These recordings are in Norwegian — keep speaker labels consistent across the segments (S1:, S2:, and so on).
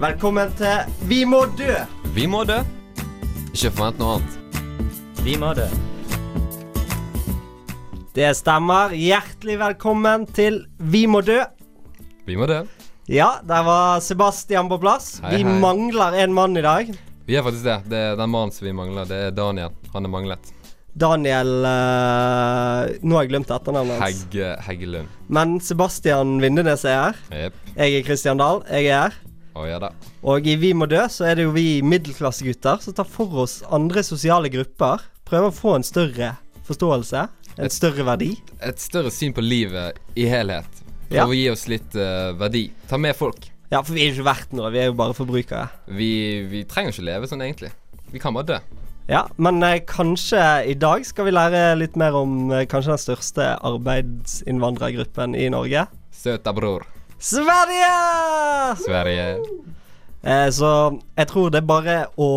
S1: Velkommen til Vi må dø!
S2: Vi må dø. Ikke forvent noe annet.
S1: Vi må dø. Det stemmer. Hjertelig velkommen til Vi må dø.
S2: Vi må dø.
S1: Ja, der var Sebastian på plass.
S2: Hei,
S1: vi
S2: hei.
S1: mangler en mann i dag.
S2: Vi er faktisk det. Det er den mannen som vi mangler. Det er Daniel. Han er manglet.
S1: Daniel eh, Nå har jeg glemt etternavnet hans.
S2: Hegge Heggelund.
S1: Men Sebastian Vindenes er her.
S2: Jepp.
S1: Jeg er Christian Dahl. Jeg er her.
S2: Å ja da.
S1: Og i Vi må dø så er det jo vi middelklassegutter som tar for oss andre sosiale grupper. Prøver å få en større forståelse. En større verdi.
S2: Et større syn på livet i helhet. Prøv
S1: Ja.
S2: å gi oss litt eh, verdi. Ta med folk.
S1: Ja, for vi er jo ikke verdt noe. Vi er jo bare forbrukere.
S2: Vi, vi trenger ikke leve sånn, egentlig. Vi kan bare dø.
S1: Ja, Men eh, kanskje i dag skal vi lære litt mer om eh, kanskje den største arbeidsinnvandrergruppen i Norge.
S2: Søta bror.
S1: Sverige!
S2: Sverige.
S1: Eh, så jeg tror det er bare å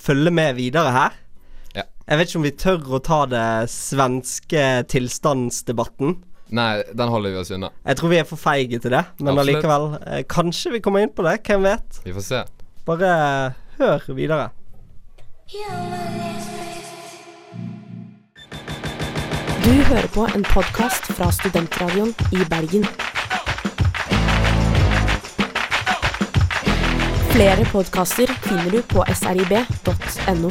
S1: følge med videre her.
S2: Ja.
S1: Jeg vet ikke om vi tør å ta det svenske tilstandsdebatten.
S2: Nei, den holder vi oss unna.
S1: Jeg tror vi er for feige til det, men
S2: Absolutt.
S1: allikevel. eh, Kanskje vi kommer inn på det, hvem vet?
S2: Vi får se.
S1: Bare hør videre.
S3: Du hører på en podkast fra Studentradioen i Bergen. Flere podkaster finner du på srib.no.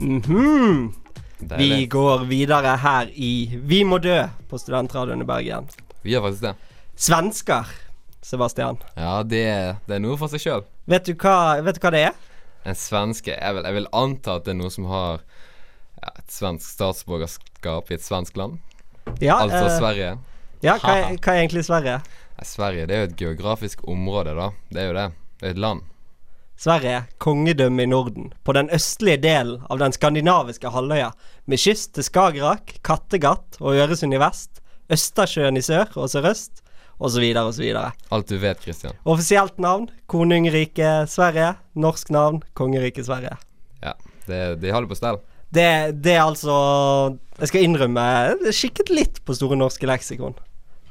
S1: Mhm. Vi
S2: Deilig.
S1: går videre her i Vi må dø på Studentradioen i Bergen.
S2: Vi gjør faktisk det.
S1: Svensker, Sebastian.
S2: Ja, det, det er noe for seg sjøl.
S1: Vet du hva, vet du hva det er?
S2: En svenske jeg vil, jeg vil anta at det er noen som har ja, et svensk statsborgerskap i et svensk land.
S1: Ja,
S2: Altså
S1: eh,
S2: Sverige.
S1: ja hva, er- hva er egentlig Sverige?
S2: Nei, Sverige det er jo et geografisk område, da. Det er jo det. Det er et land.
S1: Sverige er kongedømme i Norden, på den østlige delen av den skandinaviske halvøya, med kyst til Skagerrak, Kattegat og Øresund i vest, Østersjøen i sør og sørøst, osv. osv.
S2: Alt du vet, Christian.
S1: Offisielt navn Konungriket Sverige. Norsk navn Kongeriket Sverige.
S2: Ja, det, De har det på stell.
S1: Det, det er altså Jeg skal innrømme, jeg kikket litt på Store norske leksikon.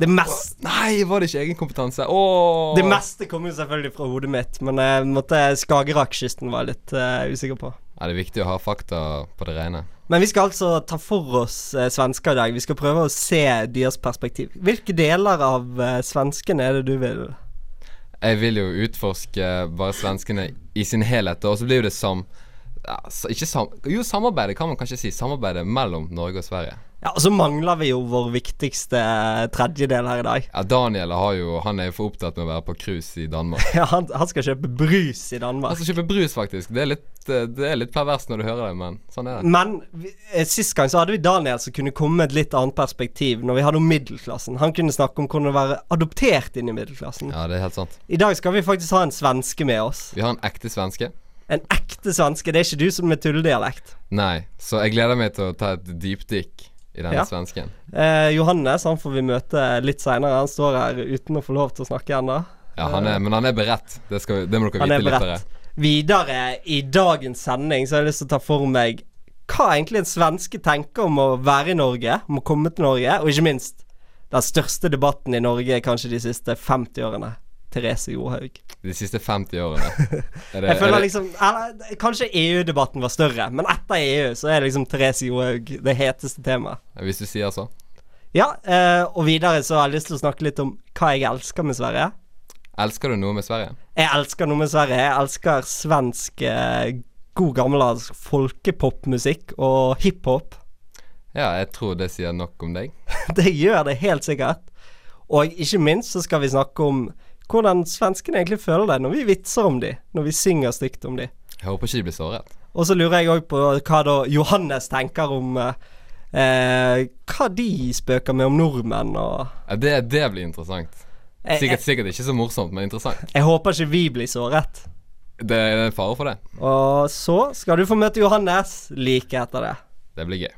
S1: Det, mest,
S2: Nei, var det ikke egen kompetanse? Åh
S1: det meste kom jo selvfølgelig fra hodet mitt, men jeg måtte Skagerrakkysten var jeg litt eh, usikker på.
S2: Ja, det er viktig å ha fakta på det rene.
S1: Men vi skal altså ta for oss eh, svensker i dag. Vi skal prøve å se deres perspektiv. Hvilke deler av eh, svenskene er det du vil
S2: Jeg vil jo utforske bare svenskene i sin helhet, og så blir jo det sam... Ja, s- ikke sam... Jo, samarbeidet kan man kanskje si. Samarbeidet mellom Norge og Sverige.
S1: Ja, og så mangler vi jo vår viktigste eh, tredjedel her i dag.
S2: Ja, Daniel har jo, han er jo for opptatt med å være på cruise i Danmark.
S1: Ja, han, han skal kjøpe brus i Danmark.
S2: Han skal kjøpe brus, faktisk. Det er litt, eh, det er litt perverst når du hører det, men sånn er det.
S1: Men vi- eh, sist gang så hadde vi Daniel som kunne komme med et litt annet perspektiv når vi hadde om middelklassen. Han kunne snakke om hvordan det å være adoptert inn i middelklassen.
S2: Ja, det er helt sant.
S1: I dag skal vi faktisk ha en svenske med oss.
S2: Vi har en ekte svenske.
S1: En ekte svenske. Det er ikke du som er tulledialekt.
S2: Nei, så jeg gleder meg til å ta et dypdykk i denne
S1: Ja.
S2: svensken.
S1: Eh, Johannes han får vi møte litt seinere. Han står her uten å få lov til å snakke ennå.
S2: Ja, han er, Men han er beredt. Det, skal, vi- det må dere
S1: Han er
S2: vite, lyttere.
S1: beredt. Videre i dagens sending så har jeg lyst til å ta for meg hva egentlig en svenske tenker om å være i Norge, om å komme til Norge, og ikke minst den største debatten i Norge kanskje de siste 50 årene. Therese Johaug.
S2: De siste 50 årene. Er det,
S1: Jeg
S2: Eh, er
S1: føler
S2: det,
S1: liksom eller, Kanskje EU-debatten var større, men etter EU så er liksom Therese Johaug det heteste temaet.
S2: Hvis du sier så.
S1: Ja, eh, og videre så har jeg lyst til å snakke litt om hva jeg elsker med Sverige.
S2: Elsker du noe med Sverige?
S1: Jeg elsker noe med Sverige. Jeg elsker svensk eh, god gammeldansk folkepopmusikk og hiphop.
S2: Ja, jeg tror det sier nok om deg.
S1: Det gjør det helt sikkert. Og ikke minst så skal vi snakke om hvordan svenskene egentlig føler det når vi vitser om de, når vi synger stygt om de.
S2: Jeg håper ikke de blir såret.
S1: Og så lurer jeg òg på hva da Johannes tenker om eh, eh, Hva de spøker med om nordmenn og
S2: Ja, det, det blir interessant.
S1: jeg, jeg,
S2: Sikkert, sikkert ikke så morsomt, men interessant.
S1: jeg håper ikke vi blir såret.
S2: Det er en fare for det.
S1: Og så skal du få møte Johannes like etter det.
S2: Det blir gøy.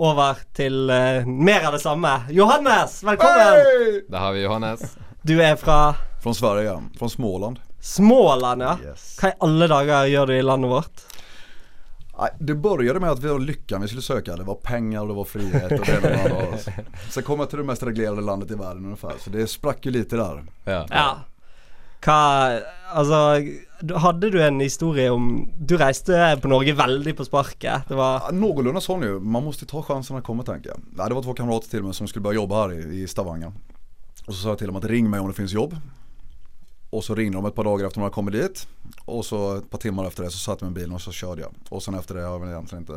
S1: over til eh, mer av det samme. Johannes, velkommen!
S2: Der har vi Johannes.
S1: Du er fra
S4: Från Sverige, ja. Från Småland.
S1: Småland, ja.
S4: Yes.
S1: Hva i alle dager gjør du i landet vårt?
S4: Nej, det började med att vi var lyckan vi skulle söka. Det var pengar och det var frihet och det ena och det andra. Sen kom jag till det mest reglerade landet i världen ungefär. Så det sprack ju lite där.
S2: Ja.
S1: Ja. Hva Altså, hadde du en historie om Du reiste på Norge veldig på sparket. Det var
S4: Ja, Någorlunda sån nu. Man måste ta chansen när den kommer tänker jag. Nej, det var två kamrater till mig som skulle börja jobba här i, i Stavanger. Och så sa jag till dem att ring mig om det finns jobb. Och så ringde de ett par dagar efter de hade kommit dit. Och så ett par timmar efter det så satte jag mig i bilen och så körde jag. Och sen efter det har jag väl egentligen inte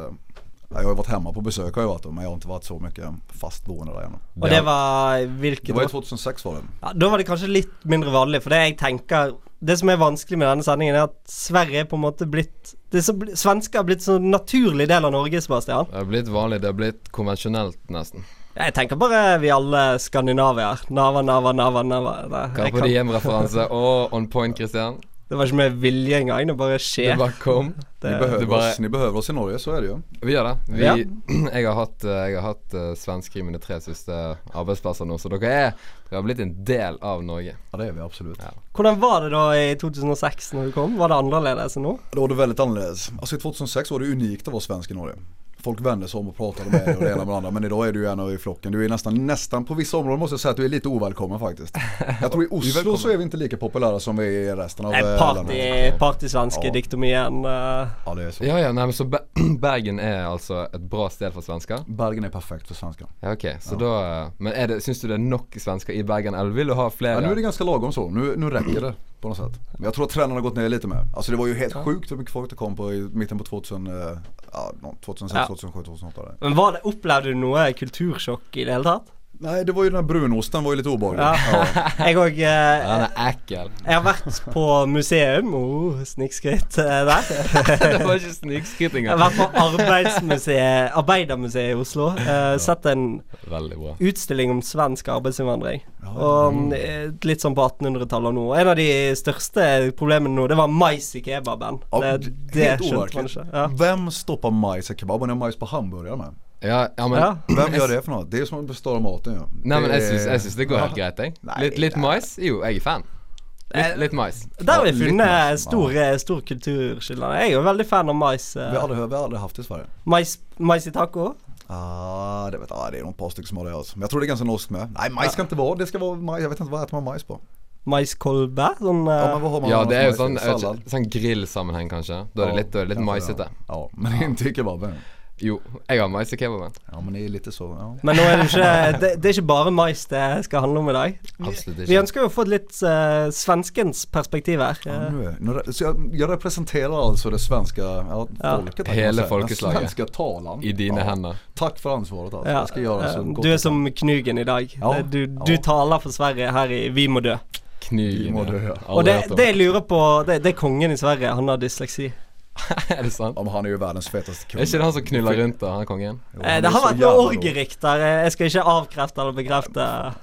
S4: Nej, jag har ju varit hemma på besök har jag varit då, men jag har inte varit så mycket fast boende där ännu.
S1: Og det var
S4: Det
S1: hvilket
S4: var ju
S1: år?
S4: 2006 var det.
S1: Ja, da var det kanskje litt mindre vanlig, for det jeg tenker Det som er vanskelig med denne sendingen, er at Sverige er på en måte blitt det er så, bl- Svensker har blitt så naturlig del av Norge, Sebastian.
S2: Det har blitt vanlig. Det har blitt konvensjonelt, nesten.
S1: Jeg tenker bare vi alle skandinavier. Nava, nava, nava, nava. Nei, jeg
S2: Carpe
S1: kan,
S2: Diem-referanse og on point, Christian.
S1: det var ikke med vilje engang. Det bare
S2: Du
S1: skjer.
S2: bare kom.
S4: Ni
S1: Det-
S4: behöver,
S2: det bara-
S4: oss, ni behöver oss i Norge, så är det ju.
S2: Vi gjør det. Vi,
S1: Ja.
S2: Jeg har hatt, eh, jeg har hatt eh, svensk i mine tre siste arbeidsplasser nå, så dere er Dere har blitt en del av Norge.
S4: Ja det är vi absolut.
S2: Ja.
S1: Hvordan var det da i 2006 når du kom? Var det annerledes enn nå?
S4: Då var det väldigt annorledes. Alltså i 2006 var det unikt att vara svensk i Norge. Folk vände sig om och pratade med dig och det ena med det andra. Men idag är du ju en av i flocken. Du är nästan, nästan på vissa områden måste jag säga att du är lite ovälkommen faktiskt. Jag tror i Oslo så är vi inte lika populära som vi är i resten av
S1: Nei,
S4: eh,
S1: party,
S4: landet.
S1: partysvenske
S4: Ja.
S1: diktomien. eh,
S4: Ja det är så.
S2: Ja ja, nei, men så Ber Bergen er altså et bra sted for svensker?
S4: Bergen är perfekt för svenskar.
S2: Ja, ok. Så da eh, Men er det, syns du det er nok svensker i Bergen, eller vil du ha
S4: Ja,
S2: flere?
S4: nu är det ganska lagom så. Nu, nu räcker det på något sätt. Men jag tror att trenden har gått ner lite mer. Alltså det var ju helt sjukt hur mycket folk det kom på i mitten på 2000, eh, ja, nå- 2006,
S1: Ja.
S4: 2007, 2008. där.
S1: Men var det, opplevde du noe kultursjokk i det hele tatt?
S4: Nej det var ju den här brunosten var ju lite obehaglig.
S1: Ja. Jeg òg eh,
S2: Ja, Den er ekkel.
S1: Jeg har vært på museum. Oh, Snikskritt eh, der.
S2: det var
S1: Jeg har
S2: ikke snikskrytinga.
S1: vært på arbeidsmuseet Arbeidermuseet i Oslo. eh, sett en
S2: Veldig bra.
S1: utstilling om svensk arbeidsinnvandring. Og eh, Litt sånn på 1800-tallet og nå. En av de største problemene nå, det var mais i kebaben.
S4: Ja,
S1: Det,
S4: helt
S1: det skjønte man
S4: overkligt.
S1: ikke. Ja.
S4: Vem stoppar majs i kebaben? Jag har majs på hamburgare med.
S2: Ja, ja, men,
S1: Ja.
S4: Vem gör det för något? Det är som att beställa maten ju.
S2: Nei, men jeg
S4: Det-
S2: syns, jeg syns det går helt greit, jeg.
S4: Nei, Eh,
S2: Litt, litt mais? Jo, jeg er fan. Litt, litt mais.
S1: Der har vi
S4: Ja, litt
S1: funnet
S4: mais,
S1: stor, eh, stor kulturskille. Jeg er jo veldig fan av mais. eh,
S4: Vi har aldrig, vi har aldrig haft det i Sverige.
S1: Mais, mais i taco.
S4: Ah, det, vet, ah, det är nog ett par stycken som har det alltså. Men jag tror det är ganska norskt med. Nej majs ska inte vara, det ska vara majs. Jag vet inte vad äter man majs på?
S1: Maiskolbe. Sånn eh,
S4: Ja, men vad har man
S2: Ja,
S4: annars
S2: det er jo
S4: majs i?
S2: sånn, jeg vet
S4: Sallad?
S2: ikke, sånn grillsammenheng, kanskje. Da er det litt, da er det litt
S4: kanske
S2: maisete.
S4: Ja, men inte i kebaben.
S2: Jo, jeg har mais i kebaben.
S4: Ja men det är lite så, ja.
S1: Men nå er det jo ikke det, det er ikke bare mais det skal handle om i dag. Vi,
S2: Absolutt
S1: vi
S2: ikke.
S1: ønsker jo å få et litt eh, svenskens perspektiv her.
S4: Ja,
S1: Eh,
S4: nu, är- nu, re- så jag, jag representerar alltså det svenska ja,
S1: Ja.
S4: folket. kan man
S2: Hela
S4: säga.
S2: folkeslaget.
S4: Den svenska talan.
S2: I dine
S4: Ja.
S2: hender.
S4: Tack för ansvaret alltså.
S1: ja,
S4: Jag ska göra så
S1: eh,
S4: gott
S1: du er
S4: jag kan.
S1: som Knugen i dag.
S4: Ja,
S1: Det- Du, du
S4: ja.
S1: taler for Sverige her i Vi må dø.
S4: Vi
S2: Knugen.
S4: må dø,
S2: ja.
S4: ja.
S2: Aldri
S1: Og det,
S2: hørt om.
S1: det jeg lurer på, det, det er kongen i Sverige. Han har dysleksi.
S2: Er det sant?
S4: Ja, men han är ju världens fetaste kung.
S2: Er ikke det han som knuller rundt da, han kongen?
S4: Jo,
S1: Eh,
S4: han
S1: det
S4: är
S1: har
S4: så
S1: vært
S4: jävla
S1: noe
S4: rolig.
S1: orgerikt der. eh, Jeg skal ikke avkrefte eller bekrefte.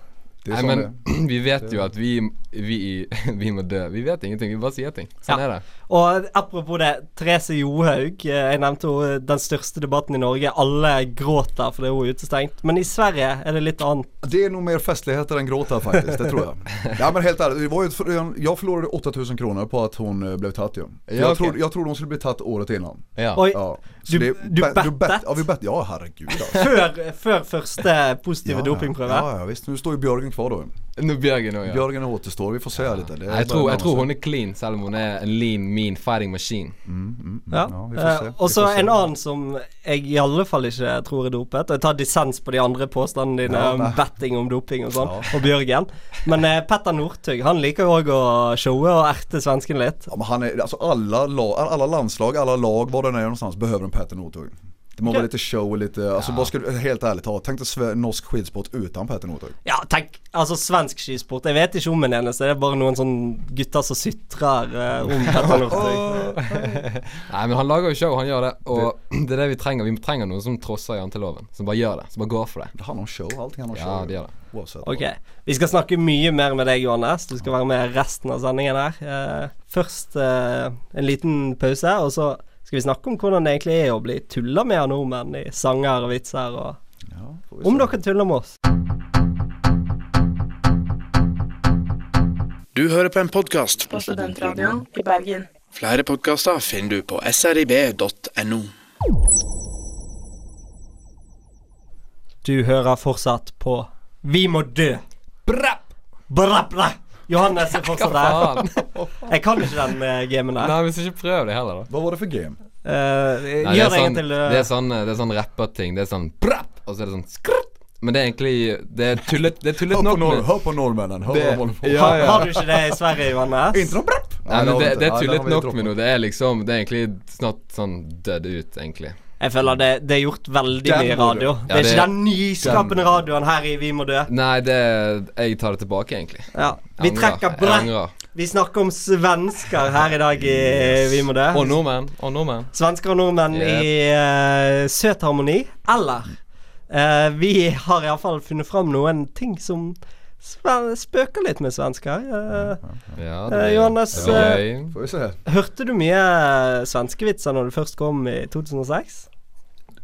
S4: Det är
S2: Nei,
S4: som
S2: men
S4: det.
S2: vi vet jo at vi, vi, i- vi må dø. Vi vet ingenting, vi bare sier ting. Sånn
S1: Ja.
S2: er det.
S1: Og apropos det, Therese Johaug. eh, Jeg nevnte jo eh, den største debatten i Norge. Alle gråter fordi hun er utestengt. Men i Sverige er det litt annet.
S4: Det är nog mer festligheter än gråt här faktiskt, det tror jag. Ja men helt ärligt, det var ju, ett- jag förlorade 8000 kronor på att hon eh, blev tatt ju. Jag,
S2: okej. Eh,
S4: trodde, jag trodde hon skulle bli tatt året innan.
S2: Ja.
S1: Oj.
S4: Ja. Så
S1: Du-
S4: det-
S1: du
S4: bet-
S1: bettet?
S4: Ja vi bett, ja herregud alltså.
S1: før, før første positive
S4: Ja,
S1: dopingprøve.
S4: Ja, ja visst, nu står ju Björgen kvar då.
S2: Nå Bjørgen òg, ja.
S4: Björgen återstår, vi får se lite. Det är
S2: Nei, Jeg
S4: bara
S2: tror, jeg
S4: närmast.
S2: tror hun er clean, selv om hun er en lean, mean fighting machine.
S1: Ja.
S4: Ja, vi får se.
S1: Eh,
S4: Vi
S1: og så
S4: får se.
S1: en annen som jeg i alle fall ikke tror er dopet. Og jeg tar dissens på de andre påstandene dine
S4: Ja,
S1: om
S4: nei.
S1: betting om doping og sånn,
S4: Ja.
S1: og Bjørgen. Men eh, Petter Northug han liker jo òg å showe och erte svensken litt.
S4: Ja, men han är, alltså alla, la- alla landslag, alla lag, var den är någonstans, behöver en Petter Northug. Det må vara lite show och lite, alltså bara ska, du- helt ärligt, ta, tänk dig sve- norsk skidsport utan Petter Northug.
S1: Ja, tenk, altså svensk skisport. Jeg vet ikke om en eneste. Det er bare noen sånne gutter som sutrer eh, om Petter Northug.
S2: Nei, men han lager jo show, han gjør det. Og det er det vi trenger. Vi trenger noen som trosser janteloven. Som bare gjør det. Som bare går for det.
S4: Det handlar om show, allting handlar om
S2: Ja,
S4: show.
S2: det gör
S4: Oavsett.
S1: Ok, Vi skal snakke mye mer med deg, Johannes. Du skal være med resten av sendingen her. Eh, først eh, en liten pause, og så skal vi snakke om hvordan det egentlig er å bli tulla med av nordmenn i sanger og vitser, og
S4: Ja, får vi
S1: om
S4: se.
S1: dere tuller med oss.
S5: Du hører på en podkast.
S6: på Studentradioen i Bergen.
S5: Flere podkaster finner du på srib.no.
S1: Du hører fortsatt på Vi må dø. Bra, bra, bra. Johannes er
S2: Hva
S1: fortsatt der.
S2: faen?
S1: Jeg kan ikke den uh, gamen der.
S2: Nei, men så ikke prøv det heller, da.
S4: Hva var det for game?
S1: Eh,
S2: Nei, det,
S1: gjør det
S2: er
S1: en
S2: sånn,
S1: gang til. eh,
S2: det er sånn, det er sånn rapperting. Det er sånn brapp, og så er det sånn skrutt. Men det er egentlig Det er tullet, det er tullet
S4: Hør på,
S2: nok
S4: nor
S2: med
S4: hør på nordmennene. Hør hva de holder på
S2: Det-
S4: med.
S2: ja,
S1: har,
S2: ja.
S1: har du ikke det i Sverige, Johannes?
S4: Inte någon brapp!
S2: Nei, men det, det er
S4: Nej, den har
S2: tullet
S4: vi
S2: nok
S4: droppat.
S2: med noe. Det er liksom Det er egentlig snart sånn døde ut, egentlig.
S1: Jeg føler det, det er gjort veldig
S4: Den
S1: mye
S4: må du.
S1: radio.
S2: Ja,
S1: det er
S2: det-
S1: ikke den nyskapende
S4: den-
S1: radioen her i Vi må dø.
S2: Nei, det Jeg tar det tilbake, egentlig.
S1: Ja. Vi
S2: Angrer.
S1: trekker
S2: Jeg
S1: brett.
S2: angrer.
S1: Vi snakker om svensker her i dag i Vi må dø.
S2: Og nordmenn. Og nordmenn.
S1: Svensker og nordmenn
S2: Yep.
S1: i eh, søt harmoni. Eller eh, Vi har iallfall funnet fram noen ting som sve- spøker litt med svensker. Eh,
S2: Ja,
S1: Eh, Johannes,
S2: det var gøy.
S4: Får vi se.
S1: hørte du mye eh, svenskevitser når du først kom i 2006?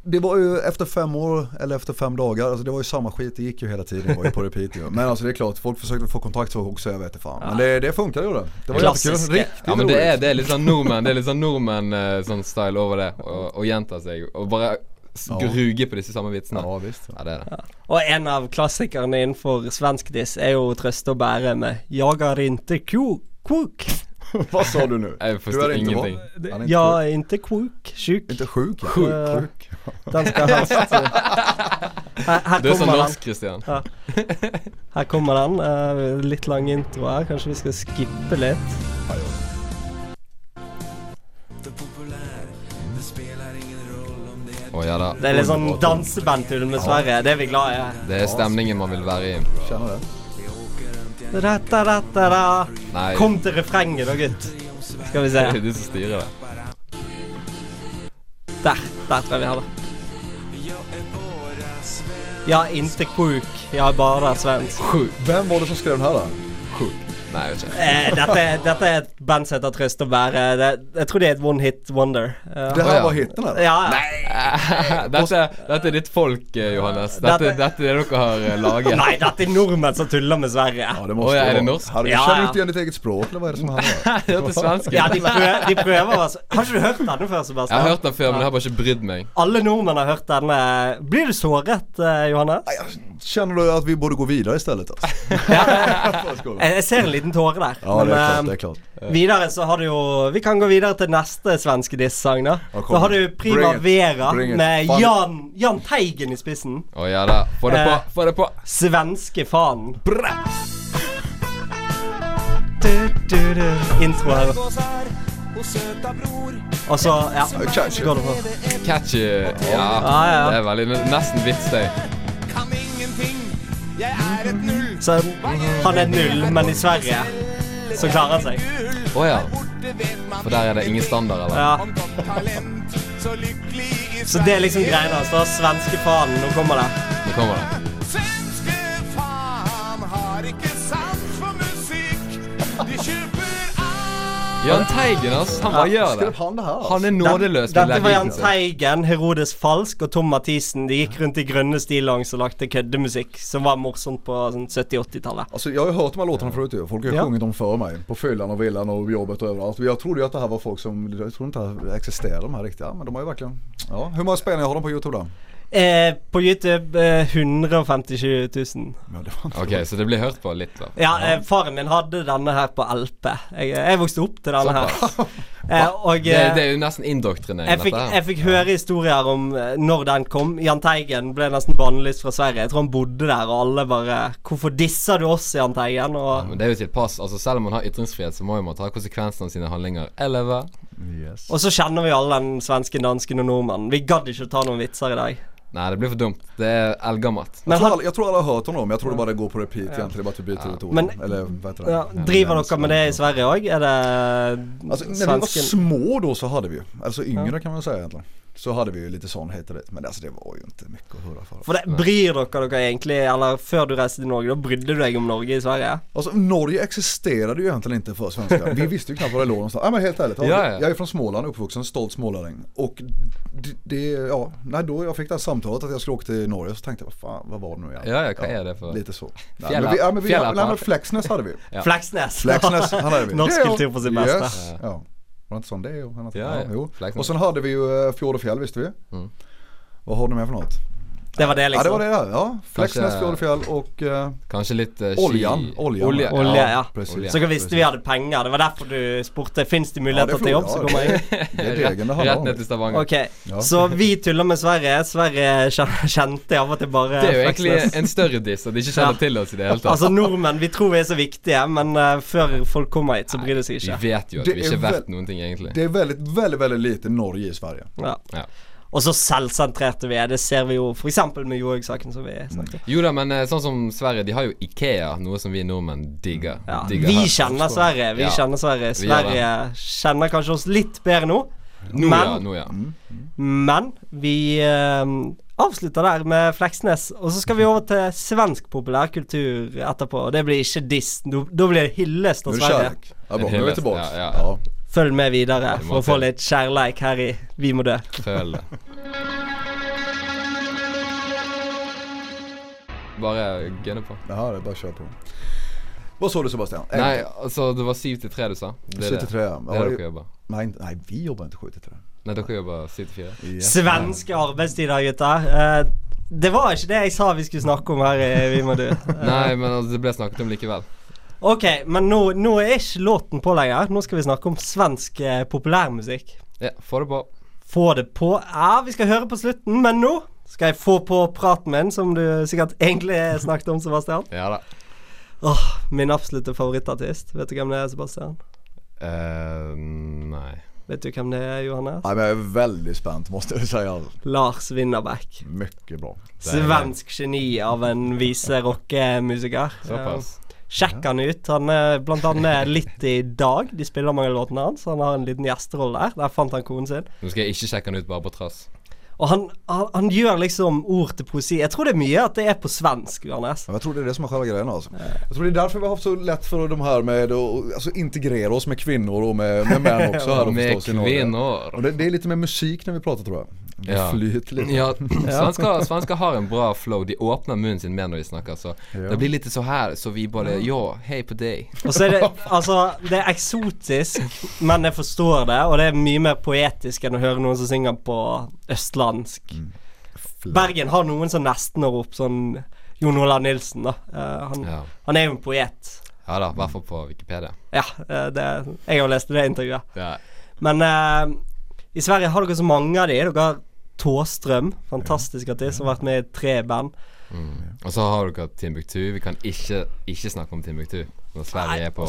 S4: Det var ju efter fem år, eller efter fem dagar, alltså det var ju samma skit, det gick ju hela tiden, det var ju på repeat ju. Men alltså det är klart, folk försökte få kontakt så också, jag vet inte fan. Men det, det funkar ju det. Det var jättekul,
S1: Klassisk.
S4: riktigt
S2: Ja, men det
S4: roligt.
S2: er, det er litt sånn nordmenn Det er litt sånn nordmenn eh, sånn style over det. Å- Å gjenta seg og bare s-
S4: Ja.
S2: ruge på disse samme vitsene.
S4: Ja visst.
S2: Ja, det er det.
S1: Og en av klassikerne innenfor svensk diss er jo 'Trøste og bære' med 'Jag har inte ku- kuk'.
S4: Vad sa du nu?
S2: Jeg
S4: du
S2: forstår
S4: är inte vad?
S2: ingenting.
S4: Han är inte
S1: Ja,
S4: sjuk.
S1: inte kuk. Sjuk.
S4: Inte sjuk? ja.
S1: Sjuk.
S4: sjuk.
S1: Den skal helst eh, her, her
S2: Du er så
S1: kommer den.
S2: norsk, Christian.
S1: Her kommer den. eh, litt lang intro her. Kanskje vi skal skippe litt.
S2: Å ja da.
S1: Det er litt sånn dansebandtull med Sverige. Det er vi glad i.
S2: Det er stemningen man vil være i.
S4: Känner det.
S1: Da-da-da-da-da.
S2: Nei,
S1: Kom til refrenget da, gutt. Skal vi se.
S2: det er du som styrer det.
S1: Der. Der tror jeg vi har det. Ja, inte kuk. Jeg er bare svensk.
S2: Sjuk.
S4: Vem var det som skrev den här då?
S2: Nei, jeg vet ikke.
S1: Eh, dette, dette er et band som heter Trøst og Bære. Det, jeg tror det er et one hit wonder. Ja.
S4: Det
S2: Å,
S4: här
S2: ja.
S4: var hitten eller?
S1: ja, ja.
S2: dette, dette er ditt folk, eh, Johannes. Dette,
S1: Dette-
S2: dette er det dere har eh, laget.
S1: Nei, dette er nordmenn som tuller med Sverige.
S4: Ja det måste
S2: Oj,
S4: det
S2: är det
S4: vara.
S2: norskt?
S4: Herregud,
S1: Ja,
S4: Känner du
S1: ja.
S4: inte igen ditt eget språk eller vad är det som händer?
S2: Det er svensk.
S1: Ja, de prøver, de prøver altså. Har ikke du hørt denne før, Sebastian?
S2: Jeg har hørt den før, men jeg har bare ikke brydd meg.
S1: Alle nordmenn har hørt denne. Blir du såret, eh, Johannes?
S4: Känner du att vi borde gå vidare istället? Alltså?
S1: Jeg, jeg ser en liten tåre der.
S4: Ja det är
S1: Eh, men,
S4: klart, det är klart.
S1: eh, videre så har du jo Vi kan gå videre til neste svenske diss-sang, da.
S4: Ja, kom.
S1: Da har du Prima
S4: Bring it.
S1: Vera
S4: Bring it.
S1: med
S4: Faen.
S1: Jan, Jan Teigen i spissen.
S2: Å ja da. Få det på.
S1: Eh.
S2: Få det på.
S1: Svenske fanen. Du, du, du. Intro her. Og så Ja, så går det på.
S2: Catchy.
S1: Ja,
S2: Ja,
S1: ja.
S2: det er veldig Nesten vits, det.
S1: Så han er null, men i Sverige så klarer han seg.
S2: Å ja. For der er det ingen standard, eller?
S1: Ja. Så det er liksom greia hans. da. Svenske fanen, nå kommer det.
S2: Nå kommer det.
S5: Svenske faen har ikke sans for musikk. De kjøper alt.
S2: Jan Teigen, ass. Han bare gjør det.
S4: Skrev han det här? alltså?
S2: Han er nådeløs med
S1: Dette var Jahn
S2: lærheten sin.
S1: Teigen, Herodes Falsk og Tom Mathisen. De gikk rundt i grønne stillongs og lagde køddemusikk som var morsomt på sånn 70-80-tallet.
S4: Alltså jag har ju hört de här låtarna förut ju. Folk har ju
S1: Ja.
S4: sjungit dem för mig. På fyllan och villan och jobbet och överallt. Jag trodde ju att det här var folk som, jag trodde inte att det existerade de här riktiga. Men de har ju verkligen, ja. Hur många spelningar har de på YouTube då?
S1: Eh, på YouTube eh, 157 000.
S4: Men det var inte
S2: Ok, så det blir hørt på litt, da.
S1: Ja, eh, faren min hadde denne her på LP. Jeg, eh, jeg vokste opp til denne her. Eh, og
S2: Det,
S1: eh,
S2: det er jo nesten indoktrinering,
S1: jeg fikk,
S2: dette
S1: jeg
S2: her.
S1: fikk høre historier om eh, når den kom. Jahn Teigen ble nesten bannlyst fra Sverige. Jeg tror han bodde der, og alle bare 'Hvorfor disser du oss, Jahn Teigen?' Og,
S2: Men det er jo sitt pass. altså Selv om man har ytringsfrihet, så må jo man ta konsekvensene av sine handlinger. Eller hva?
S4: Yes.
S1: og så kjenner vi alle den svensken, dansken og nordmannen. Vi gadd ikke å ta noen vitser i dag.
S2: Nei, det blir for dumt. Det er eldgammelt.
S4: Jag
S1: Men,
S4: tror,
S1: han,
S4: alla, jag tror alla har hört honom, jag tror det bara går på repeat egentligen. Det är bara att vi byter ut ord.
S1: Men-
S4: Eller vad heter det?
S1: ja, driver dere med det i Sverige òg? Er det
S4: Alltså, när Altså, vi var
S1: svensken
S4: små då så hade vi ju, alltså yngre kan man säga egentligen. Så hade vi ju lite sån hit och dit. Men alltså det var ju inte mycket att höra för.
S1: For det, Bryr dere dere egentlig, eller før du reiste til Norge, da brydde du deg om Norge i Sverige?
S4: Alltså Norge existerade ju egentligen inte för svenskar. Vi visste ju knappt var det låg någonstans. Nej men helt ärligt.
S2: Ja, ja.
S4: Jag är från Småland, uppvuxen, stolt smålänning. Och det, det, ja, nej då jag fick det här samtalet att jag skulle åka till Norge så tänkte jag, vad fan, vad var det nu egentligen?
S2: Ja, ja, vad är det för-
S4: Lite så. Nej,
S2: Fjällar-
S4: men vi, ja, men vi,
S2: fjällar-
S4: nej, men Fläcksnäs hade vi ju.
S2: Ja.
S1: Fleksnes.
S4: Flaxness, han hade vi.
S1: Norsk
S4: Ja, ja.
S1: kultur på sin bästa.
S4: Yes. Ja. Var det inte sån det? Jo. Han hade,
S2: Ja, Mm.
S4: ja,
S2: ja.
S4: jo.
S2: Flaxness.
S4: Och sen hade vi ju eh, fjord och fjäll visste vi. Vad har du med för något?
S1: Det var det,
S4: Ja det
S1: liksom.
S4: var det ja. Fleksnes,
S2: Kanske-
S4: Fjordfjell och eh,
S2: Kanskje litt eh, ski-
S4: oljan. Oljan.
S2: Olje,
S1: Olje, ja.
S4: Precis.
S2: Olje.
S1: Så dere visste vi hadde penger. Det var derfor du spurte Fins det muligheter til jobb. Så
S4: frågar
S1: kommer jeg
S4: jag. Det är degen det handlar
S2: Rett
S4: om.
S2: ned til Stavanger.
S1: Ok, Så vi tuller med Sverre. Sverre kjen- kjente av og til bare
S2: Det er jo egentlig
S1: Fleksnes.
S2: en større diss at de ikke
S1: Ja.
S2: kjenner til oss i det hele tatt.
S1: Altså Nordmenn vi tror vi er så viktige, men eh, før folk kommer hit, så bryr de seg
S2: Vi
S1: ikke.
S2: vet jo at
S4: Det
S2: vi
S4: er
S2: ikke er
S4: vel-
S2: verdt noen ting, egentlig.
S4: Det är väldigt, väldigt, väldigt lite Norge i Sverige.
S1: Ja.
S2: Ja.
S1: Og så selvsentrerte vi er. Det ser vi jo f.eks. med Johaug-saken. som vi snakket om.
S2: Jo da, men eh, sånn som Sverige, de har jo Ikea, noe som vi nordmenn digger.
S1: Ja.
S2: digger
S1: Vi
S2: hardt.
S1: kjenner Sverige. Vi
S2: Ja.
S1: kjenner Sverige
S2: Vi gjør det.
S1: Sverige kjenner kanskje oss litt bedre nå,
S2: Nå, ja,
S1: men,
S2: nå, ja.
S1: men vi eh, avslutter der med Fleksnes. Og så skal vi over til svensk populærkultur etterpå. Og det blir ikke diss. Da da blir det hyllest
S4: Nu
S1: av
S4: är det
S1: Sverige.
S4: kärlek. Ja, bra. Nu är vi
S2: Hyllest,
S4: tillbaks.
S2: ja, ja.
S4: Ja.
S1: Følg med videre
S2: vi må
S1: for å få
S2: til.
S1: litt kjærleik her i Vi må dø.
S2: Føl det. Bare gønne på.
S4: Det här är bara att köra på. Vad sa du Sebastian? En-
S2: Nei, altså det var syv til tre du sa? Det er
S4: Syv til tre, ja.
S2: det. Det er dere jobber.
S4: Nej, nej, vi jobbar inte 7 till 3.
S2: Nei, dere jobber syv til fire.
S1: Svenske arbeidstider, gutter. Eh, det var ikke det jeg sa vi skulle snakke om her i Vi må dø. Eh,
S2: Nei, men altså, det ble snakket om likevel.
S1: ok, men nå, nå er ikke låten på lenger. Nå skal vi snakke om svensk eh, populærmusikk.
S2: Ja, få det på.
S1: Få det på Ja, vi skal høre på slutten, men nå skal jeg få på praten min, som du sikkert egentlig snakket om, Sebastian.
S2: Ja da.
S1: Åh, Min absolutte favorittartist. Vet du hvem det er, Sebastian?
S2: Eh, nei.
S1: Vet du hvem det er, Johannes?
S4: Nej men jag är väldigt spänd måste jag säga.
S1: Lars Winnerbeck.
S4: Mycket bra.
S1: Svensk geni av en vise rockemusiker. Eh,
S2: Såpass.
S1: Sjekk han ut. Han er blant annet litt i dag. De spiller mange av låtene hans. Han har en liten gjesterolle der. Der fant han konen sin.
S2: Nå skal jeg ikke sjekke den ut bare på trass.
S1: Og han, han, han gjør liksom ord til poesi. Jeg tror det er mye at det er på svensk, Johannes.
S4: Ja, Jag tror det är det som är själva grejen alltså. Jag altså. tror det är därför vi har haft så lätt för de här med att alltså, integrera oss med kvinnor och med, med män också här då
S2: Med
S4: förstås i Norge.
S2: kvinner.
S4: Och det, det är lite mer musik när vi pratar tror jag. Det
S2: Ja.
S4: flyter lite.
S2: Ja, svenskar, svenskar har en bra flow. De åpner munnen sin mer når de snakker, så det blir litt så her, så vi bare Ja, hei på deg.
S1: Og så er det Altså, det er eksotisk, men jeg forstår det. Og det er mye mer poetisk enn å høre noen som synger på østlandsk.
S2: Mm.
S1: Bergen har noen som nesten når opp, sånn Jon Olav Nilsen, da. Eh, han,
S2: Ja.
S1: han er jo en poet.
S2: Ja da, i hvert fall på Wikipedia.
S1: Ja, eh, det, jeg har lest det intervjuet.
S2: Ja.
S1: Men eh, i Sverige har dere så mange av de. Dere har Tåstrøm, fantastisk artist, som har vært med i tre band.
S2: Og så har dere Timbuktu. Vi kan ikke, ikke snakke om Timbuktu når Sverige er på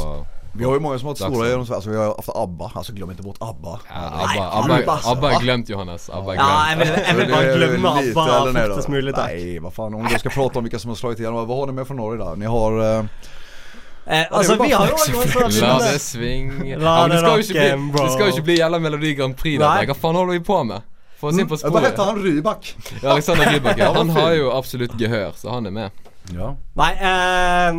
S4: Vi har ju många som har varit
S2: Dags.
S4: stora genom Sverige, alltså vi har haft ABBA, alltså glöm inte bort ABBA.
S2: ja, Abba, Abba,
S1: Abba,
S2: Abba, er glemt, Johannes. Abba er
S1: Ja, jeg
S2: glemt.
S1: vil, jeg vil bare glemme ABBA fortest mulig, takk.
S4: Nej, vad fan om vi ska prata om vilka som har slagit igenom, vad har ni med från Norge där? Ni har... Eh,
S1: Eh, altså, vi har jo også
S2: La det svinge
S1: La
S2: men
S1: det
S2: skal jo ikke
S1: rocken,
S2: bli-
S1: bro.
S2: Det skal jo ikke bli gjelda Melodi Grand Prix.
S1: Nei. Mm.
S2: dette. Hva faen holder vi på med? Få oss inn på
S4: vad hette
S2: sporet.
S4: han? Ryback?
S2: Ja, Alexander Rybak, ja,
S4: Ja,
S2: han
S4: vad
S2: har
S4: fint.
S2: jo absolutt gehør, så han er med.
S4: Ja.
S1: Nei, eh,